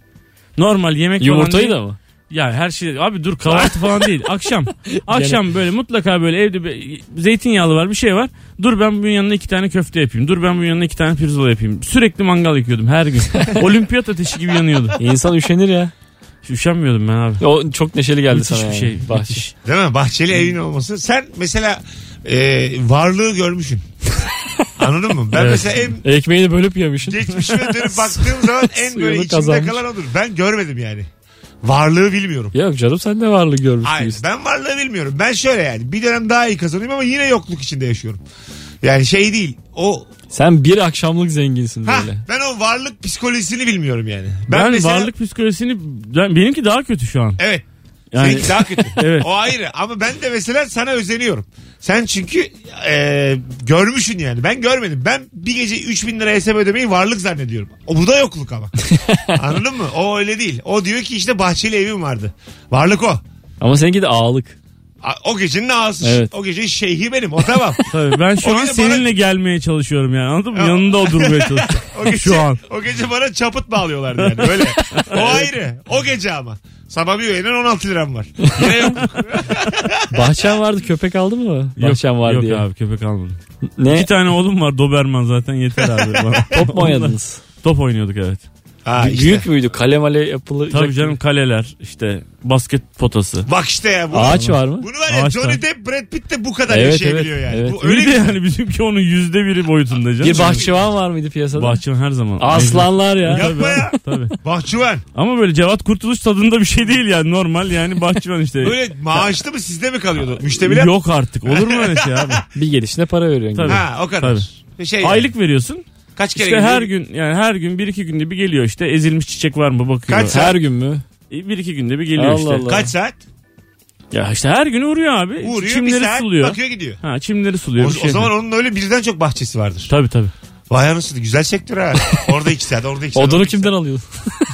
Normal yemek Yumurtayı falan da değil. mı? Ya her şey. Abi dur kahvaltı falan değil. [LAUGHS] Akşam. Akşam böyle mutlaka böyle evde bir- zeytinyağlı var bir şey var. Dur ben bunun yanına iki tane köfte yapayım. Dur ben bunun yanına iki tane pirzola yapayım. Sürekli mangal yakıyordum [LAUGHS] her gün. Olimpiyat ateşi gibi yanıyordu. İnsan üşenir ya. Üşenmiyordum ben abi. O çok neşeli geldi Müthiş sana. bir yani. şey. Bahçe. Müthiş. Değil mi? Hmm. Bahçeli evin olması. Sen mesela e, varlığı görmüşsün. [LAUGHS] Anladın mı? Ben Evet. mesela en Ekmeğini bölüp yemişsin. geçmişime dönüp baktığım zaman en böyle Suyunu içimde kazanmış. kalan odur. Ben görmedim yani. Varlığı bilmiyorum. Yok canım sen de varlık görmüş Hayır gibisin. ben varlığı bilmiyorum. Ben şöyle yani bir dönem daha iyi kazanıyorum ama yine yokluk içinde yaşıyorum. Yani şey değil. O Sen bir akşamlık zenginsin ha, böyle. ben o varlık psikolojisini bilmiyorum yani. Ben, mesela- varlık psikolojisini ben, benimki daha kötü şu an. Evet. Yani- Seninki daha kötü. [LAUGHS] Evet. O ayrı ama ben de mesela sana özeniyorum. Sen çünkü e, görmüşsün yani. Ben görmedim. Ben bir gece 3000 lira hesap ödemeyi varlık zannediyorum. O burada yokluk [LAUGHS] ama. Anladın mı? O öyle değil. O diyor ki işte bahçeli evim vardı. Varlık o. Ama seninki de ağalık. A- O gecenin ağası. Evet. O gecenin şeyhi benim. O [LAUGHS] tamam. Tabii ben şu O an gece bana- seninle gelmeye çalışıyorum yani anladın mı? Ya. Yanında o durmaya O gece, çalışıyorum. şu an. O gece bana çaput bağlıyorlardı yani. Öyle. [LAUGHS] O ayrı. O gece ama. Sabah bir uyanın 16 liram [LAUGHS] var. Yine yokluk. Bahçen vardı köpek aldı mı? Bahçen vardı yok ya. abi köpek almadım. Ne? İki tane oğlum var Doberman zaten yeter abi. bana. [LAUGHS] Top mu oynadınız? Top oynuyorduk evet. Ha, işte. Büyük müydü? Kale male yapılacak. Tabii canım kaleler işte basket potası. Bak işte ya. Bu Ağaç var mı? Bunu var ya Ağaçtan. Johnny Depp Brad Pitt de bu kadar Evet, yaşayabiliyor evet, yani. evet. Bu Öyle öyle de bir yani bizimki onun yüzde biri boyutunda canım. Bir bahçıvan var mıydı piyasada? Bahçıvan her zaman. Aslanlar ya. yapma ya. [LAUGHS] Tabii. Bahçıvan. Ama böyle Cevat Kurtuluş tadında bir şey değil yani normal yani bahçıvan işte. Öyle şey maaşlı mı sizde mi kalıyordu? Müştemiler? Yok artık olur mu öyle [LAUGHS] şey abi? Bir gelişine para veriyorsun. Tabii. gibi. Ha o kadar. Şey, Aylık veriyorsun. kaç kere İşte gidiyor? her gün yani her gün bir iki günde bir geliyor işte ezilmiş çiçek var mı bakıyor. Kaç saat? Her gün mü? E, Bir iki günde bir geliyor Allah işte. Allah. Kaç saat? Ya işte her gün uğruyor abi. Uğruyor E, çimleri bir saat suluyor. bakıyor gidiyor. Ha çimleri O, suluyor. bir o şey zaman yapıyor. onun öyle birden çok bahçesi vardır. Tabii tabii. Vay anasını güzel sektör ha. Orada iki saat orada iki saat. Odunu orada iki kimden alıyorsun? [LAUGHS]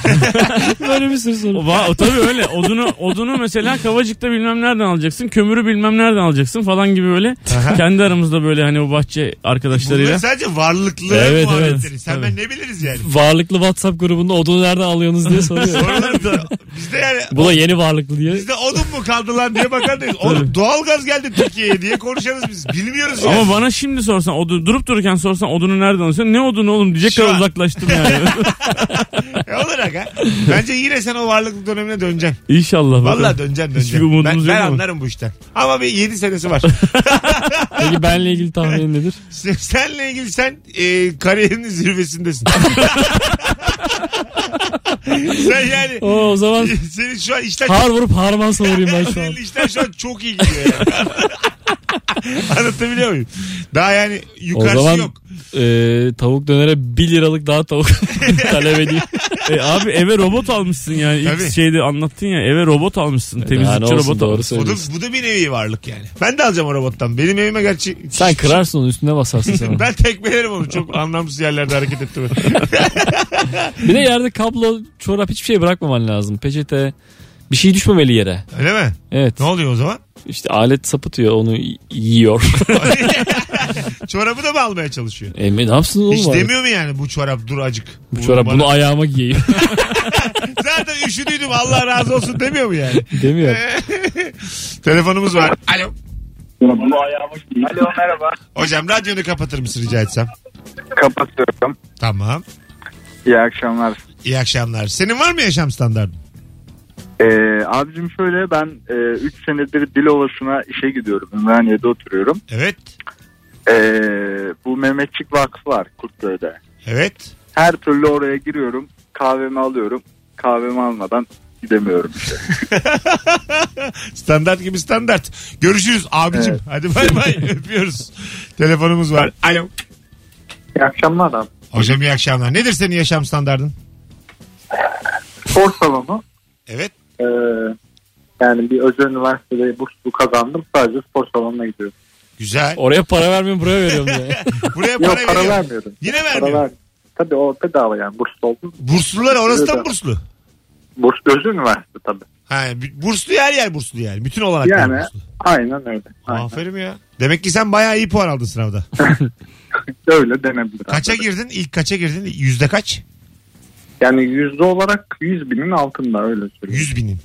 Böyle bir sürü soru. O, va- o tabii öyle. Odunu odunu mesela Kavacık'ta bilmem nereden alacaksın. Kömürü bilmem nereden alacaksın falan gibi böyle. Kendi aramızda böyle hani o bahçe saat. Bunlar arkadaşlarıyla. sadece varlıklı Evet, muhabbetleri. evet. Sen Tabii. ben ne biliriz [LAUGHS] yani. Varlıklı WhatsApp grubunda odunu nereden alıyorsunuz [LAUGHS] diye soruyor. Oralarda bizde yani Bu da yeni varlıklı diye. bizde odun mu kaldı lan diye bakar değiliz. Oğlum doğalgaz geldi Türkiye'ye diye konuşarız biz. Bilmiyoruz yani. Ama bana şimdi sorsan odu, durup dururken sorsan odunu nereden alıyorsun? Ne odunu oğlum diyecek Şu kadar an. uzaklaştım yani. [LAUGHS] E olur aga. Bence yine sen o varlıklık dönemine döneceksin. İnşallah. bakalım. Vallahi döneceksin döneceksin. Hiçbir Ben, umudumuz ben yok ama. anlarım bu işten. Ama bir 7 senesi var. Peki benle ilgili [LAUGHS] tahmin nedir? Sen- Senle ilgili sen e, kariyerinin zirvesindesin. [LAUGHS] Sen yani Oo, o zaman senin şu an işler har vurup harman savurayım ben şu an. Senin işler şu an çok iyi gidiyor yani. [LAUGHS] Anlatabiliyor muyum? Daha yani O yukarısı zaman yok. e, tavuk dönere 1 liralık [LAUGHS] daha tavuk talep edeyim. E abi eve robot almışsın yani. İlk Tabii. şeyde anlattın ya eve robot almışsın. E, Daha ne Temizlikçi olsun, robot doğru almışsın. Bu da, söylüyorsun. bu da bir nevi varlık yani. Ben de alacağım o robottan. Benim evime gerçi... Sen kırarsın onu üstüne basarsın sen. [LAUGHS] onu. Ben tekmelerim onu. Çok anlamsız yerlerde hareket etti. ben. Bir de yerde kablo, çorap hiçbir şey bırakmaman lazım. Peçete bir şey düşmemeli yere. Öyle mi? Evet. Ne oluyor o zaman? İşte alet sapıtıyor onu y- yiyor. [LAUGHS] Çorabı da mı almaya çalışıyor? e, ne yapsın oğlum? Hiç abi? demiyor mu yani bu çorap dur acık. Bu çorap bana- bunu [LAUGHS] ayağıma giyeyim Zaten üşüdüydüm Allah razı olsun demiyor mu yani? demiyor. Telefonumuz var. Alo. Alo merhaba. Hocam radyonu kapatır mısın rica etsem? Kapatıyorum. Tamam. İyi akşamlar. İyi akşamlar. Senin var mı yaşam standartın? Ee, abicim şöyle ben 3 senedir Dilovası'na işe gidiyorum. Ümraniye'de oturuyorum. Evet. Ee, bu Mehmetçik Vakfı var Kurtköy'de. Evet. Her türlü oraya giriyorum. Kahvemi alıyorum. Kahvemi almadan gidemiyorum. Standart gibi standart. Görüşürüz abicim. Evet. Hadi bay [LAUGHS] bay. Öpüyoruz. Telefonumuz var. Alo. İyi akşamlar abi. Hocam iyi akşamlar. Nedir senin yaşam standartın? Spor salonu. Evet. Ee, yani bir özel üniversitede burslu kazandım. Sadece spor salonuna gidiyorum. Güzel. Oraya para vermiyorum buraya [LAUGHS] veriyorum diye. Buraya [LAUGHS] para, Yok veriyor. para vermiyorum. Yine Para vermiyor. ver. Tabii o bedava yani burslu oldum. Burslular orası da mı Evet. burslu? Burslu özel üniversite tabii. Ha, burslu her yer burslu yani. Bütün olarak Yani burslu. aynen öyle. Aynen. Aferin ya. Demek ki sen bayağı iyi puan aldın sınavda. Öyle denebilir. Kaça girdin? İlk kaça girdin? Yüzde kaç? Yani yüzde olarak 100 binin altında öyle söyleyeyim. Yüz binin.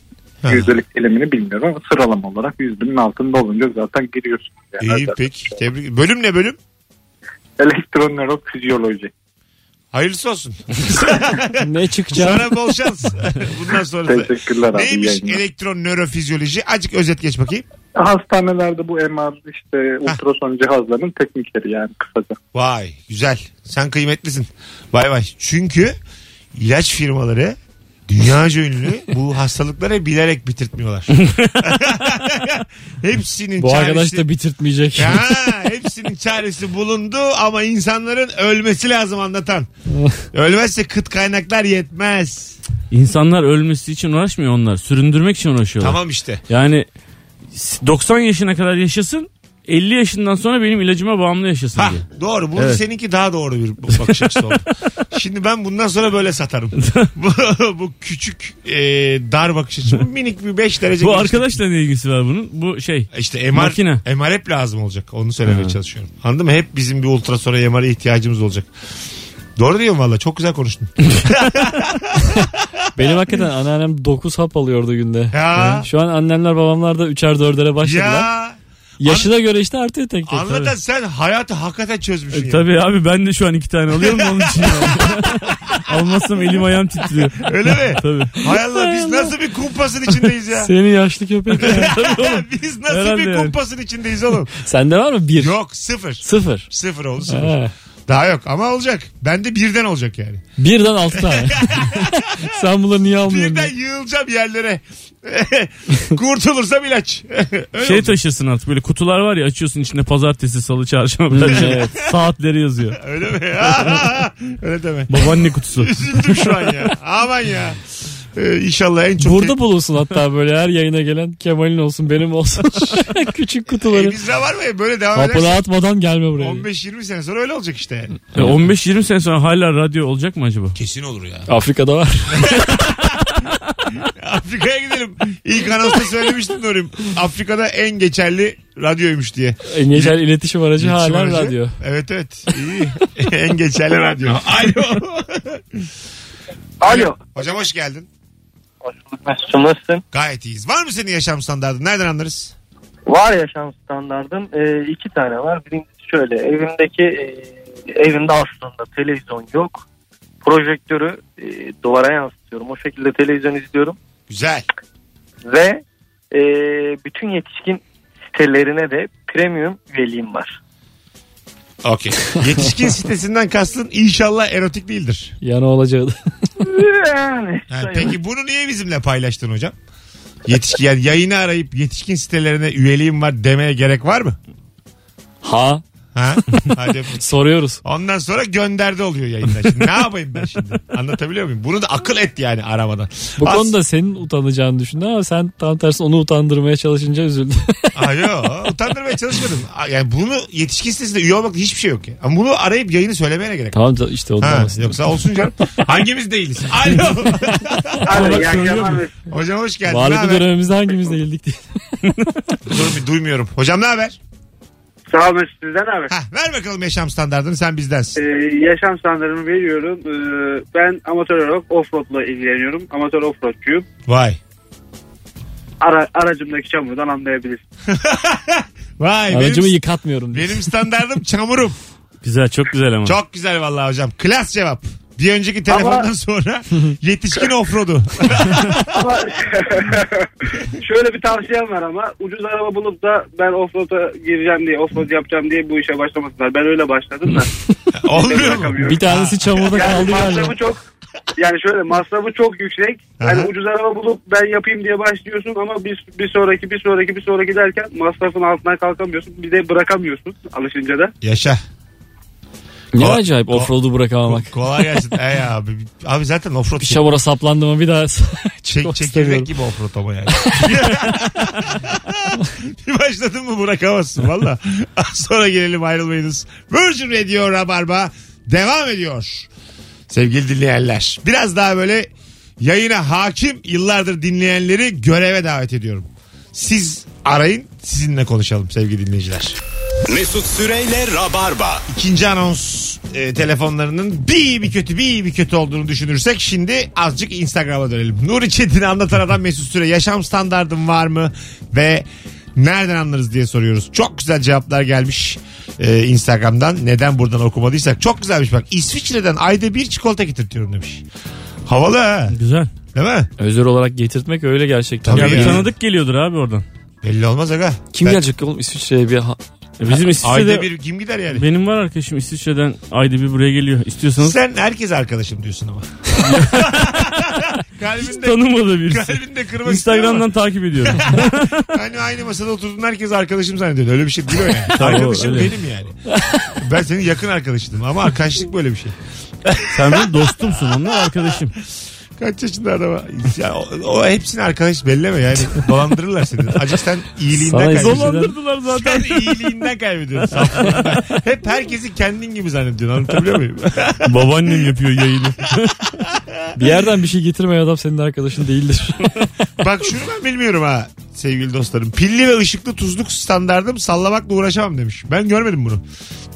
Ha. Yüzdelik dilimini bilmiyorum ama sıralama olarak 100 binin altında olunca zaten giriyorsun. Yani İyi peki. Tebrik. Bölüm ne bölüm? Elektron nörofizyoloji. Hayırlısı [LAUGHS] olsun. ne çıkacak? Sana bol şans. [LAUGHS] Bundan sonra. Teşekkürler abi. iyi Neymiş yayınlar. elektron nörofizyoloji? Acık özet geç bakayım. Hastanelerde bu MR işte ultrason cihazlarının teknikleri yani kısaca. Vay güzel. Sen kıymetlisin. Bay bay. Çünkü ilaç firmaları dünyaca [LAUGHS] ünlü bu hastalıkları bilerek bitirtmiyorlar. Hepsinin Bu arkadaş çaresi- da [LAUGHS] bitirtmeyecek. [LAUGHS] Ha, hepsinin çaresi bulundu ama insanların ölmesi lazım [LAUGHS] anlatan. Ölmezse kıt kaynaklar yetmez. İnsanlar ölmesi için uğraşmıyor onlar. Süründürmek için uğraşıyorlar. Tamam işte. Yani 90 yaşına kadar yaşasın 50 yaşından sonra benim ilacıma bağımlı yaşasın Ha diye. doğru. Bunu seninki daha doğru bir bakış açısı [LAUGHS] oldu. Şimdi ben bundan sonra böyle satarım. bu, bu küçük e, dar bakış açısı. Bu minik bir 5 derece. Bu genişlik. arkadaşla ne ilgisi var bunun? Bu şey. İşte MR, Makine. MR hep lazım olacak. Onu söylemeye çalışıyorum. Anladın mı? Hep bizim bir ultrasona MR'a ihtiyacımız olacak. Doğru diyorum valla. Çok güzel konuştun. Benim hakikaten anneannem 9 hap alıyordu günde. Ya. Şu an annemler babamlar da 3'er 4'lere başladılar. ya Yaşına göre işte artıyor tek tek. tabii. anlatan sen hayatı hakikaten çözmüşsün. E, ya. tabii abi ben de şu an iki tane alıyorum da onun [LAUGHS] için. yani. Almazsam elim ayağım titriyor. Öyle mi? [LAUGHS] Tabii. Hay Allah biz nasıl bir kumpasın içindeyiz [LAUGHS] ya? Seni yaşlı köpek ya. biz nasıl Herhalde bir yani. kumpasın içindeyiz [LAUGHS] oğlum? Sende var mı? Bir. Yok sıfır. Sıfır. Sıfır oldu sıfır. Ha. Daha yok ama olacak. Bende birden olacak yani. Birden [LAUGHS] altı tane. Sen bunları niye almıyorsun? Birden yığılacağım yerlere. [LAUGHS] Kurtulursam ilaç. [LAUGHS] Öyle şey olacak. taşırsın artık böyle kutular var ya açıyorsun içinde pazartesi, salı, çarşamba. Hmm, evet. Saatleri yazıyor. Öyle mi? [LAUGHS] Öyle deme. Babaanne kutusu. E, Üzüldüm şu an ya. Aman ya. Ee, inşallah en çok... Burada bulunsun hatta böyle her yayına gelen Kemal'in olsun [LAUGHS] benim olsun. Küçük Ee, kutuları. biz de var mı? ya? Böyle devam Kapını edersen atmadan gelme buraya. 15-20 sene sonra öyle olacak işte. yani. E, 15-20 sene sonra hala radyo olacak mı acaba? Kesin olur ya. Afrika'da var. Afrika'ya gidelim. İlk anonsta söylemiştim Nuri'm. Afrika'da en geçerli radyoymuş diye. En geçerli iletişim aracı İletişim hala aracı. radyo. Evet evet. İyi. [LAUGHS] en geçerli radyo. Alo. Alo. Hocam hoş geldin. Hoş bulduk Mesut'um nasılsın? Gayet iyiyiz. Var mı senin yaşam standartın? Nereden anlarız? Var yaşam standardım. Ee, iki tane var. Birincisi şöyle evimdeki e, evimde aslında televizyon yok. Projektörü e, duvara yansıtıyorum. O şekilde televizyon izliyorum. Güzel. Ve e, bütün yetişkin sitelerine de premium üyeliğim var. [LAUGHS] Okey. Yetişkin sitesinden kastın inşallah erotik değildir. Yana olacağı da. Yani. Ha, peki bunu niye bizimle paylaştın hocam? Yetişkin yani yayını arayıp yetişkin sitelerine üyeliğim var demeye gerek var mı? Ha Ha? Hadi. soruyoruz. Ondan sonra gönderdi oluyor yayında. Şimdi ne yapayım ben şimdi? Anlatabiliyor muyum? Bunu da akıl et yani aramadan. Bu As- konuda senin utanacağını düşündü ama sen tam tersi onu utandırmaya çalışınca üzüldü. Aa, yo, utandırmaya çalışmadım. Aa, Yani bunu yetişkin sitesinde üye olmakta hiçbir şey yok ya. Ama bunu arayıp yayını söylemeye gerek. [LAUGHS] tamam da işte ondan Ha, bahsediyorum. yoksa olsun canım. [LAUGHS] Hangimiz değiliz? Alo. Abi, iyi söylüyor akşamlar. [LAUGHS] Hocam hoş geldin. Ne Varlıklı haber? dönemimizde hangimiz değildik diye. Dur, duymuyorum. Hocam ne haber? Sağ olun sizden abi. Ha, ver bakalım yaşam standartını sen bizdensin. Ee, yaşam standartımı veriyorum. Ee, ben amatör olarak offroadla ilgileniyorum. Amatör offroadcuyum. Vay. Ara, aracımdaki çamurdan anlayabilirsin. Vay. Aracımı benim, yıkatmıyorum diye. benim standartım çamurum. Güzel çok güzel ama. Çok güzel vallahi hocam. Klas cevap. Bir önceki telefondan sonra yetişkin offroad'u. Ama [LAUGHS] şöyle bir tavsiyem var ama ucuz araba bulup da ben offroad'a gireceğim diye, offroad yapacağım diye bu işe başlamasınlar. Ben öyle başladım da. Olmuyor mu? bırakamıyorum. Bir tanesi çamurda Yani kaldı galiba. masrafı çok yani şöyle masrafı çok yüksek. Aha. Hani ucuz araba bulup ben yapayım diye başlıyorsun ama bir, bir sonraki bir sonraki bir sonraki derken masrafın altına kalkamıyorsun. Bir de bırakamıyorsun alışınca da. Yaşa. Ne Ko- acayip ko- offroad'u bırakamamak. Kolay gelsin. Ey abi. Abi zaten offroad Bir şey. çamura saplandı mı bir daha Çek, çıkmak çekirdek istemiyorum. gibi offroad ama yani. [LAUGHS] bir başladın mı bırakamazsın valla. Az Sonra gelelim ayrılmayınız. Virgin Radio Rabarba devam ediyor. Sevgili dinleyenler. Biraz daha böyle yayına hakim yıllardır dinleyenleri göreve davet ediyorum. Siz arayın sizinle konuşalım sevgili dinleyiciler. Mesut Süreyle Rabarba. İkinci anons e, telefonlarının bir iyi bir kötü bir iyi bir kötü olduğunu düşünürsek şimdi azıcık Instagram'a dönelim. Nuri Çetin'i anlatan adam Mesut Süre yaşam standardım var mı ve nereden anlarız diye soruyoruz. Çok güzel cevaplar gelmiş e, Instagram'dan neden buradan okumadıysak. Çok güzelmiş bak İsviçre'den ayda bir çikolata getirtiyorum demiş. Havalı ha Güzel. değil mi? [LAUGHS] Özür olarak getirtmek öyle gerçekten. Tabii Ya bir yani. tanıdık geliyordur abi oradan. Belli olmaz aga. Kim Ben- gelecek oğlum İsviçre'ye bir ha- E Bizim Ayda İsviçre'de bir kim gider yani? benim var arkadaşım İsviçre'den ayda bir buraya geliyor. İstiyorsanız Sen herkes arkadaşım diyorsun ama. kalbinde, tanımadığı birisi. kalbinde kırmak istiyor ama. Instagram'dan takip ediyorum. Hani aynı masada oturduğun herkes arkadaşım zannediyor. Öyle bir şey değil o [LAUGHS] yani. Tabii, arkadaşım öyle. benim yani. Ben senin yakın arkadaşındım ama arkadaşlık böyle bir şey. Sen benim dostumsun onlar arkadaşım. Kaç yaşında adama? Ya, o, o hepsini arkadaş belleme yani. Dolandırırlar seni. Acık sen iyiliğinden Sana kaybediyorsun. izin- Dolandırdılar zaten. Sen iyiliğinden [LAUGHS] kaybediyorsun. saflığından. Hep herkesi kendin gibi zannediyorsun. Anlatabiliyor muyum? [LAUGHS] Babaannem yapıyor yayını. bir yerden bir şey getirmeyen adam senin [LAUGHS] arkadaşın değildir. Bak şunu ben bilmiyorum ha sevgili dostlarım. Pilli ve ışıklı tuzluk standardım sallamakla uğraşamam demiş. Ben görmedim bunu.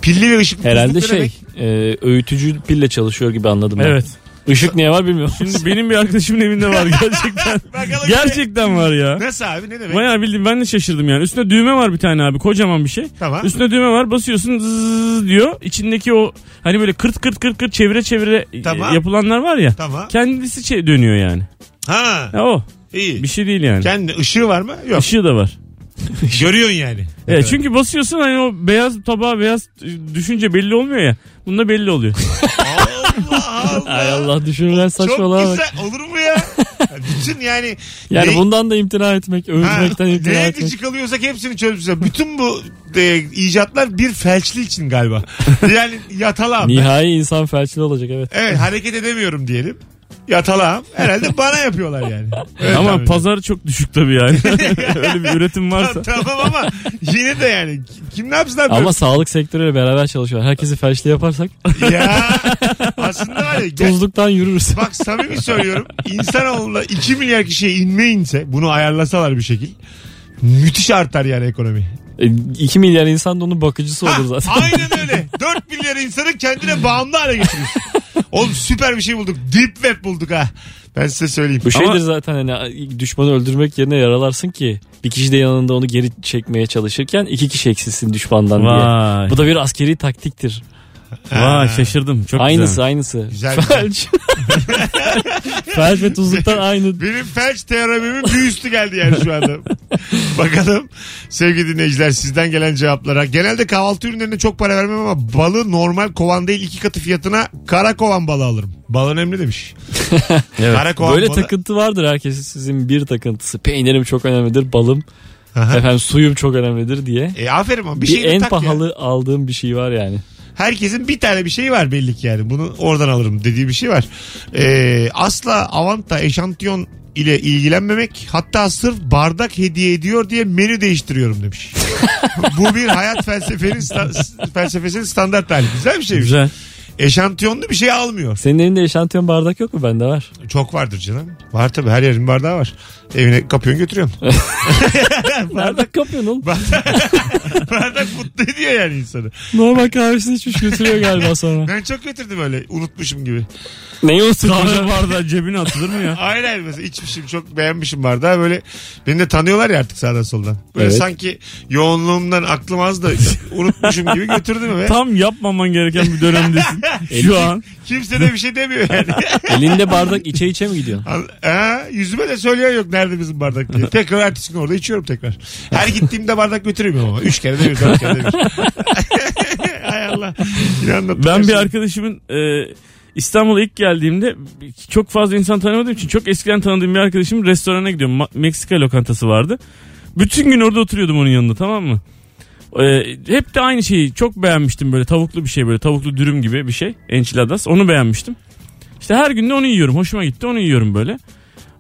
Pilli ve ışıklı Herhalde tuzluk ne şey e, öğütücü pille çalışıyor gibi anladım ben. [LAUGHS] evet. Işık niye var bilmiyorum. Şimdi benim bir arkadaşımın evinde var gerçekten. demek? Bakalım Gerçekten var ya. ne- Nasıl abi ne demek? Bayağı bildim ben de şaşırdım yani. Üstüne düğme var bir tane abi kocaman bir şey. Tamam. Üstüne düğme var basıyorsun zzzz diyor. İçindeki o hani böyle kırt kırt kırt kırt çevire çevire e, Tamam. yapılanlar var ya. Tamam. Kendisi çe- dönüyor yani. Ha Ya o iyi. bir şey değil yani. Kendi ışığı var mı? Yok. Işığı da var. şey- Görüyorsun yani. [LAUGHS] Evet, çünkü basıyorsun hani o beyaz tabağa beyaz e, düşünce belli olmuyor ya. Bunda [LAUGHS] belli oluyor. Allah Ay Allah. Allah düşünülen Çok saçmalığa bak. güzel. Olur mu ya? Bütün yani. Yani ne- bundan da imtina etmek, Ha, övünmekten imtina neye etmek. gıcık alıyorsak hepsini çözmüşler. Bütün bu e, icatlar bir felçli için [LAUGHS] galiba. Yani yatalağım. ben. Nihai insan felçli olacak evet. Evet hareket edemiyorum diyelim. Yatalağım. Herhalde bana yapıyorlar [LAUGHS] yani. Öyle tahmin Ama ediyorum. pazar çok düşük tabii yani. Öyle bir üretim varsa. tamam ama yine de yani kim ne yapsın abi? [LAUGHS] Ama sağlık sektörüyle beraber çalışıyorlar. Herkesi felçli yaparsak Ya aslında var ya, gel- tuzluktan yürürüz. Bak samimi söylüyorum. İnsanoğluna 2 milyar kişiye inme inse bunu ayarlasalar bir şekil. Müthiş artar yani ekonomi. 2 E, milyar insan da onun bakıcısı Ha, olur zaten. aynen öyle. 4 milyar insanı kendine bağımlı hale getirir. Oğlum süper bir şey bulduk. Deep web bulduk ha. Ben size söyleyeyim. Bu şeydir Ama- zaten hani düşmanı öldürmek yerine yaralarsın ki bir kişi de yanında onu geri çekmeye çalışırken iki kişi eksilsin düşmandan diye. Vay. Bu da bir askeri taktiktir. Vay şaşırdım. Çok aynısı güzel. aynısı. Güzel, güzel. Felç. [LAUGHS] Felç ve tuzluktan aynı. Benim felç teoremimin bir üstü geldi yani şu anda. Bakalım sevgili dinleyiciler sizden gelen cevaplara. Genelde kahvaltı ürünlerine çok para vermem ama balı normal kovan değil iki katı fiyatına kara kovan balı alırım. Bal önemli demiş. Kara kovan Böyle balı. takıntı vardır herkesin sizin bir takıntısı. Peynirim çok önemlidir, balım, Aha. efendim suyum çok önemlidir diye. E, aferin ama bir, Bir, şey en tak ya. pahalı aldığım bir şey var yani. Herkesin bir tane bir şeyi var belli ki yani. Bunu oradan alırım dediği bir şey var. Ee, asla avanta eşantiyon ile ilgilenmemek hatta sırf bardak hediye ediyor diye menü değiştiriyorum demiş. [LAUGHS] Bu bir hayat felsefenin sta- felsefesinin standart hali. Güzel bir şeymiş. Güzel. Eşantiyonlu bir şey almıyor. Senin evinde eşantiyon bardak yok mu? Bende var. Çok vardır canım. Var tabii her yerin bardağı var. Evine kapıyorsun götürüyorsun. Bardak kapıyorsun oğlum. [LAUGHS] Bardak mutlu ediyor yani insanı. Normal kahvesini içmiş götürüyor [LAUGHS] galiba sonra. Ben çok götürdüm öyle unutmuşum gibi. Neyi unuttun? Kahve bardağı cebine [LAUGHS] atılır mı ya? Hayır hayır mesela içmişim çok beğenmişim bardağı böyle beni de tanıyorlar ya artık sağdan soldan. Böyle Evet. sanki yoğunluğumdan aklım az da unutmuşum gibi götürdüm eve. Tam yapmaman gereken bir dönemdesin. Şu an. Kimse de bir şey demiyor yani. [LAUGHS] Elinde bardak içe içe mi gidiyorsun? Al- Ha, yüzüme de söyleyen yok nerede bizim bardak diye. Tekrar ertesi gün orada içiyorum tekrar. Her gittiğimde bardak götürüyorum ama. Üç kere de bir, dört kere de bir. Hay Allah. Yine anlattım. Ben bir arkadaşımın e, İstanbul'a ilk geldiğimde çok fazla insan tanımadığım için çok eskiden tanıdığım bir arkadaşım restorana gidiyorum. Ma- Meksika lokantası vardı. Bütün gün orada oturuyordum onun yanında tamam mı? E, hep de aynı şeyi çok beğenmiştim böyle tavuklu bir şey böyle tavuklu dürüm gibi bir şey. Enchiladas onu beğenmiştim. İşte her gün de onu yiyorum. Hoşuma gitti onu yiyorum böyle.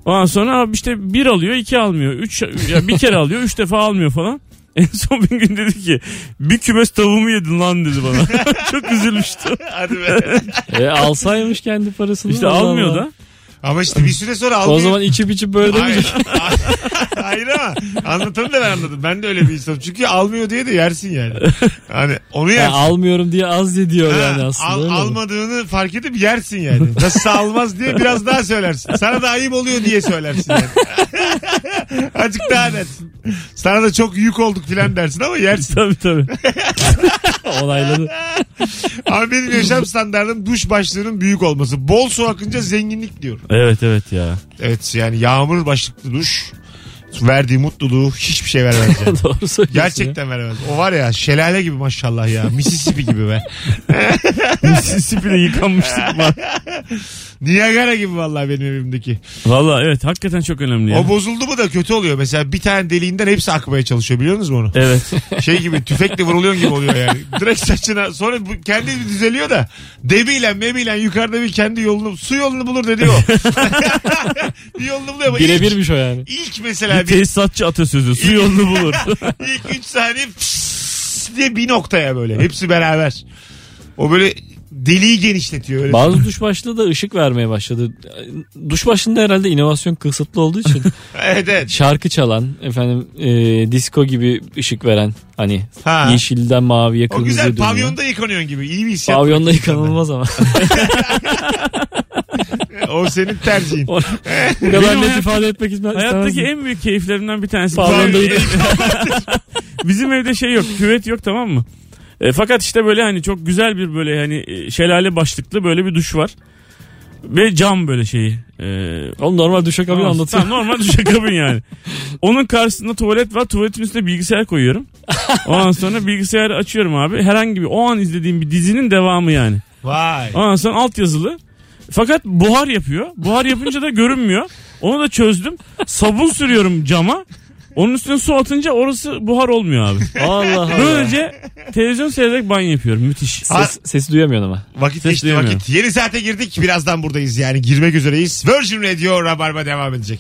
Ondan sonra abi işte bir alıyor iki almıyor. Üç, ya bir kere alıyor üç defa almıyor falan. [LAUGHS] En son bir gün dedi ki bir kümes tavuğumu yedin lan dedi bana. Çok üzülmüştüm. Hadi be. E, alsaymış kendi parasını. İşte Allah almıyor Allah. da. Ama işte bir süre sonra almıyor. O zaman içip içip böyle demeyecek. Hayır. şey. [LAUGHS] Hayır ama anlatanı da ben anladım. Ben de öyle bir insanım. Çünkü almıyor diye de yersin yani. Hani onu [LAUGHS] Yani yersin. almıyorum diye az ye diyor Ha, yani aslında. al- öyle mi? almadığını fark edip yersin yani. Nasıl almaz diye biraz daha söylersin. Sana da ayıp oluyor diye söylersin yani. [LAUGHS] Azıcık daha dersin. Sana da çok yük olduk filan dersin ama yersin. [LAUGHS] Tabii tabii. [LAUGHS] Onayladı. Ama benim yaşam standartım duş başlığının büyük olması. Bol su akınca zenginlik diyor. Evet evet ya. Evet yani yağmur başlıklı duş verdiği mutluluğu hiçbir şey vermez. yani. [LAUGHS] Doğru söylüyorsun. ya. Gerçekten veremez. O var ya şelale gibi maşallah ya. Mississippi gibi be. Mississippi'de [LAUGHS] yıkanmıştık var. Niagara gibi vallahi benim evimdeki. Valla evet hakikaten çok önemli ya. O bozuldu mu da kötü oluyor. Mesela bir tane deliğinden hepsi akmaya çalışıyor biliyor musunuz onu? Evet. [LAUGHS] Şey gibi tüfekle vuruluyorsun gibi oluyor yani. Direkt saçına sonra bu, kendi düzeliyor da debiyle mebiyle yukarıda bir kendi yolunu su yolunu bulur dedi o. bir yolunu buluyor ama ilk, Birebirmiş o yani. ilk mesela bir, Tesisatçı atasözü. Su yolunu [LAUGHS] bulur. ilk 3 saniye pss diye bir noktaya böyle. Hepsi beraber. O böyle deliği genişletiyor. Öyle. Bazı duş başlığı da ışık vermeye başladı. Duş başında herhalde inovasyon kısıtlı [LAUGHS] olduğu için evet evet. şarkı çalan, efendim e, disco gibi ışık veren hani Ha. yeşilden maviye O kırmızıya güzel dönüyor. pavyonda şey yıkanıyorsun gibi. İyi bir hissiyat. Pavyonda yıkanılmaz ama. O senin tercihin. [LAUGHS] O- Bu Benim kadar net hayatta- ifade etmek istemez. Hayattaki en büyük keyiflerimden bir tanesi. [LAUGHS] Pavyonda Bizim- Bizim evde şey yok. Küvet yok tamam mı? E, fakat işte böyle hani çok güzel bir böyle hani e, şelale başlıklı böyle bir duş var. Ve cam böyle şeyi. E, Oğlum normal duşakabini Tamam, anlatıyor. Tamam normal duşakabin yani. Onun karşısında tuvalet var. Tuvaletin üstüne bilgisayar koyuyorum. Ondan sonra bilgisayarı açıyorum abi. Herhangi bir o an izlediğim bir dizinin devamı yani. Vay. Ondan sonra altyazılı. Fakat buhar yapıyor. Buhar yapınca da görünmüyor. Onu da çözdüm. Sabun sürüyorum cama. Onun üstüne su atınca orası buhar olmuyor abi. Allah Allah. Böylece televizyon seyrederek banyo yapıyorum. Müthiş. Ses, sesi duyamıyorsun ama. Vakit Ses geçti duyamıyorum. vakit. Yeni saate girdik. Birazdan buradayız yani. Girmek üzereyiz. Virgin Radio Rabarba devam edecek.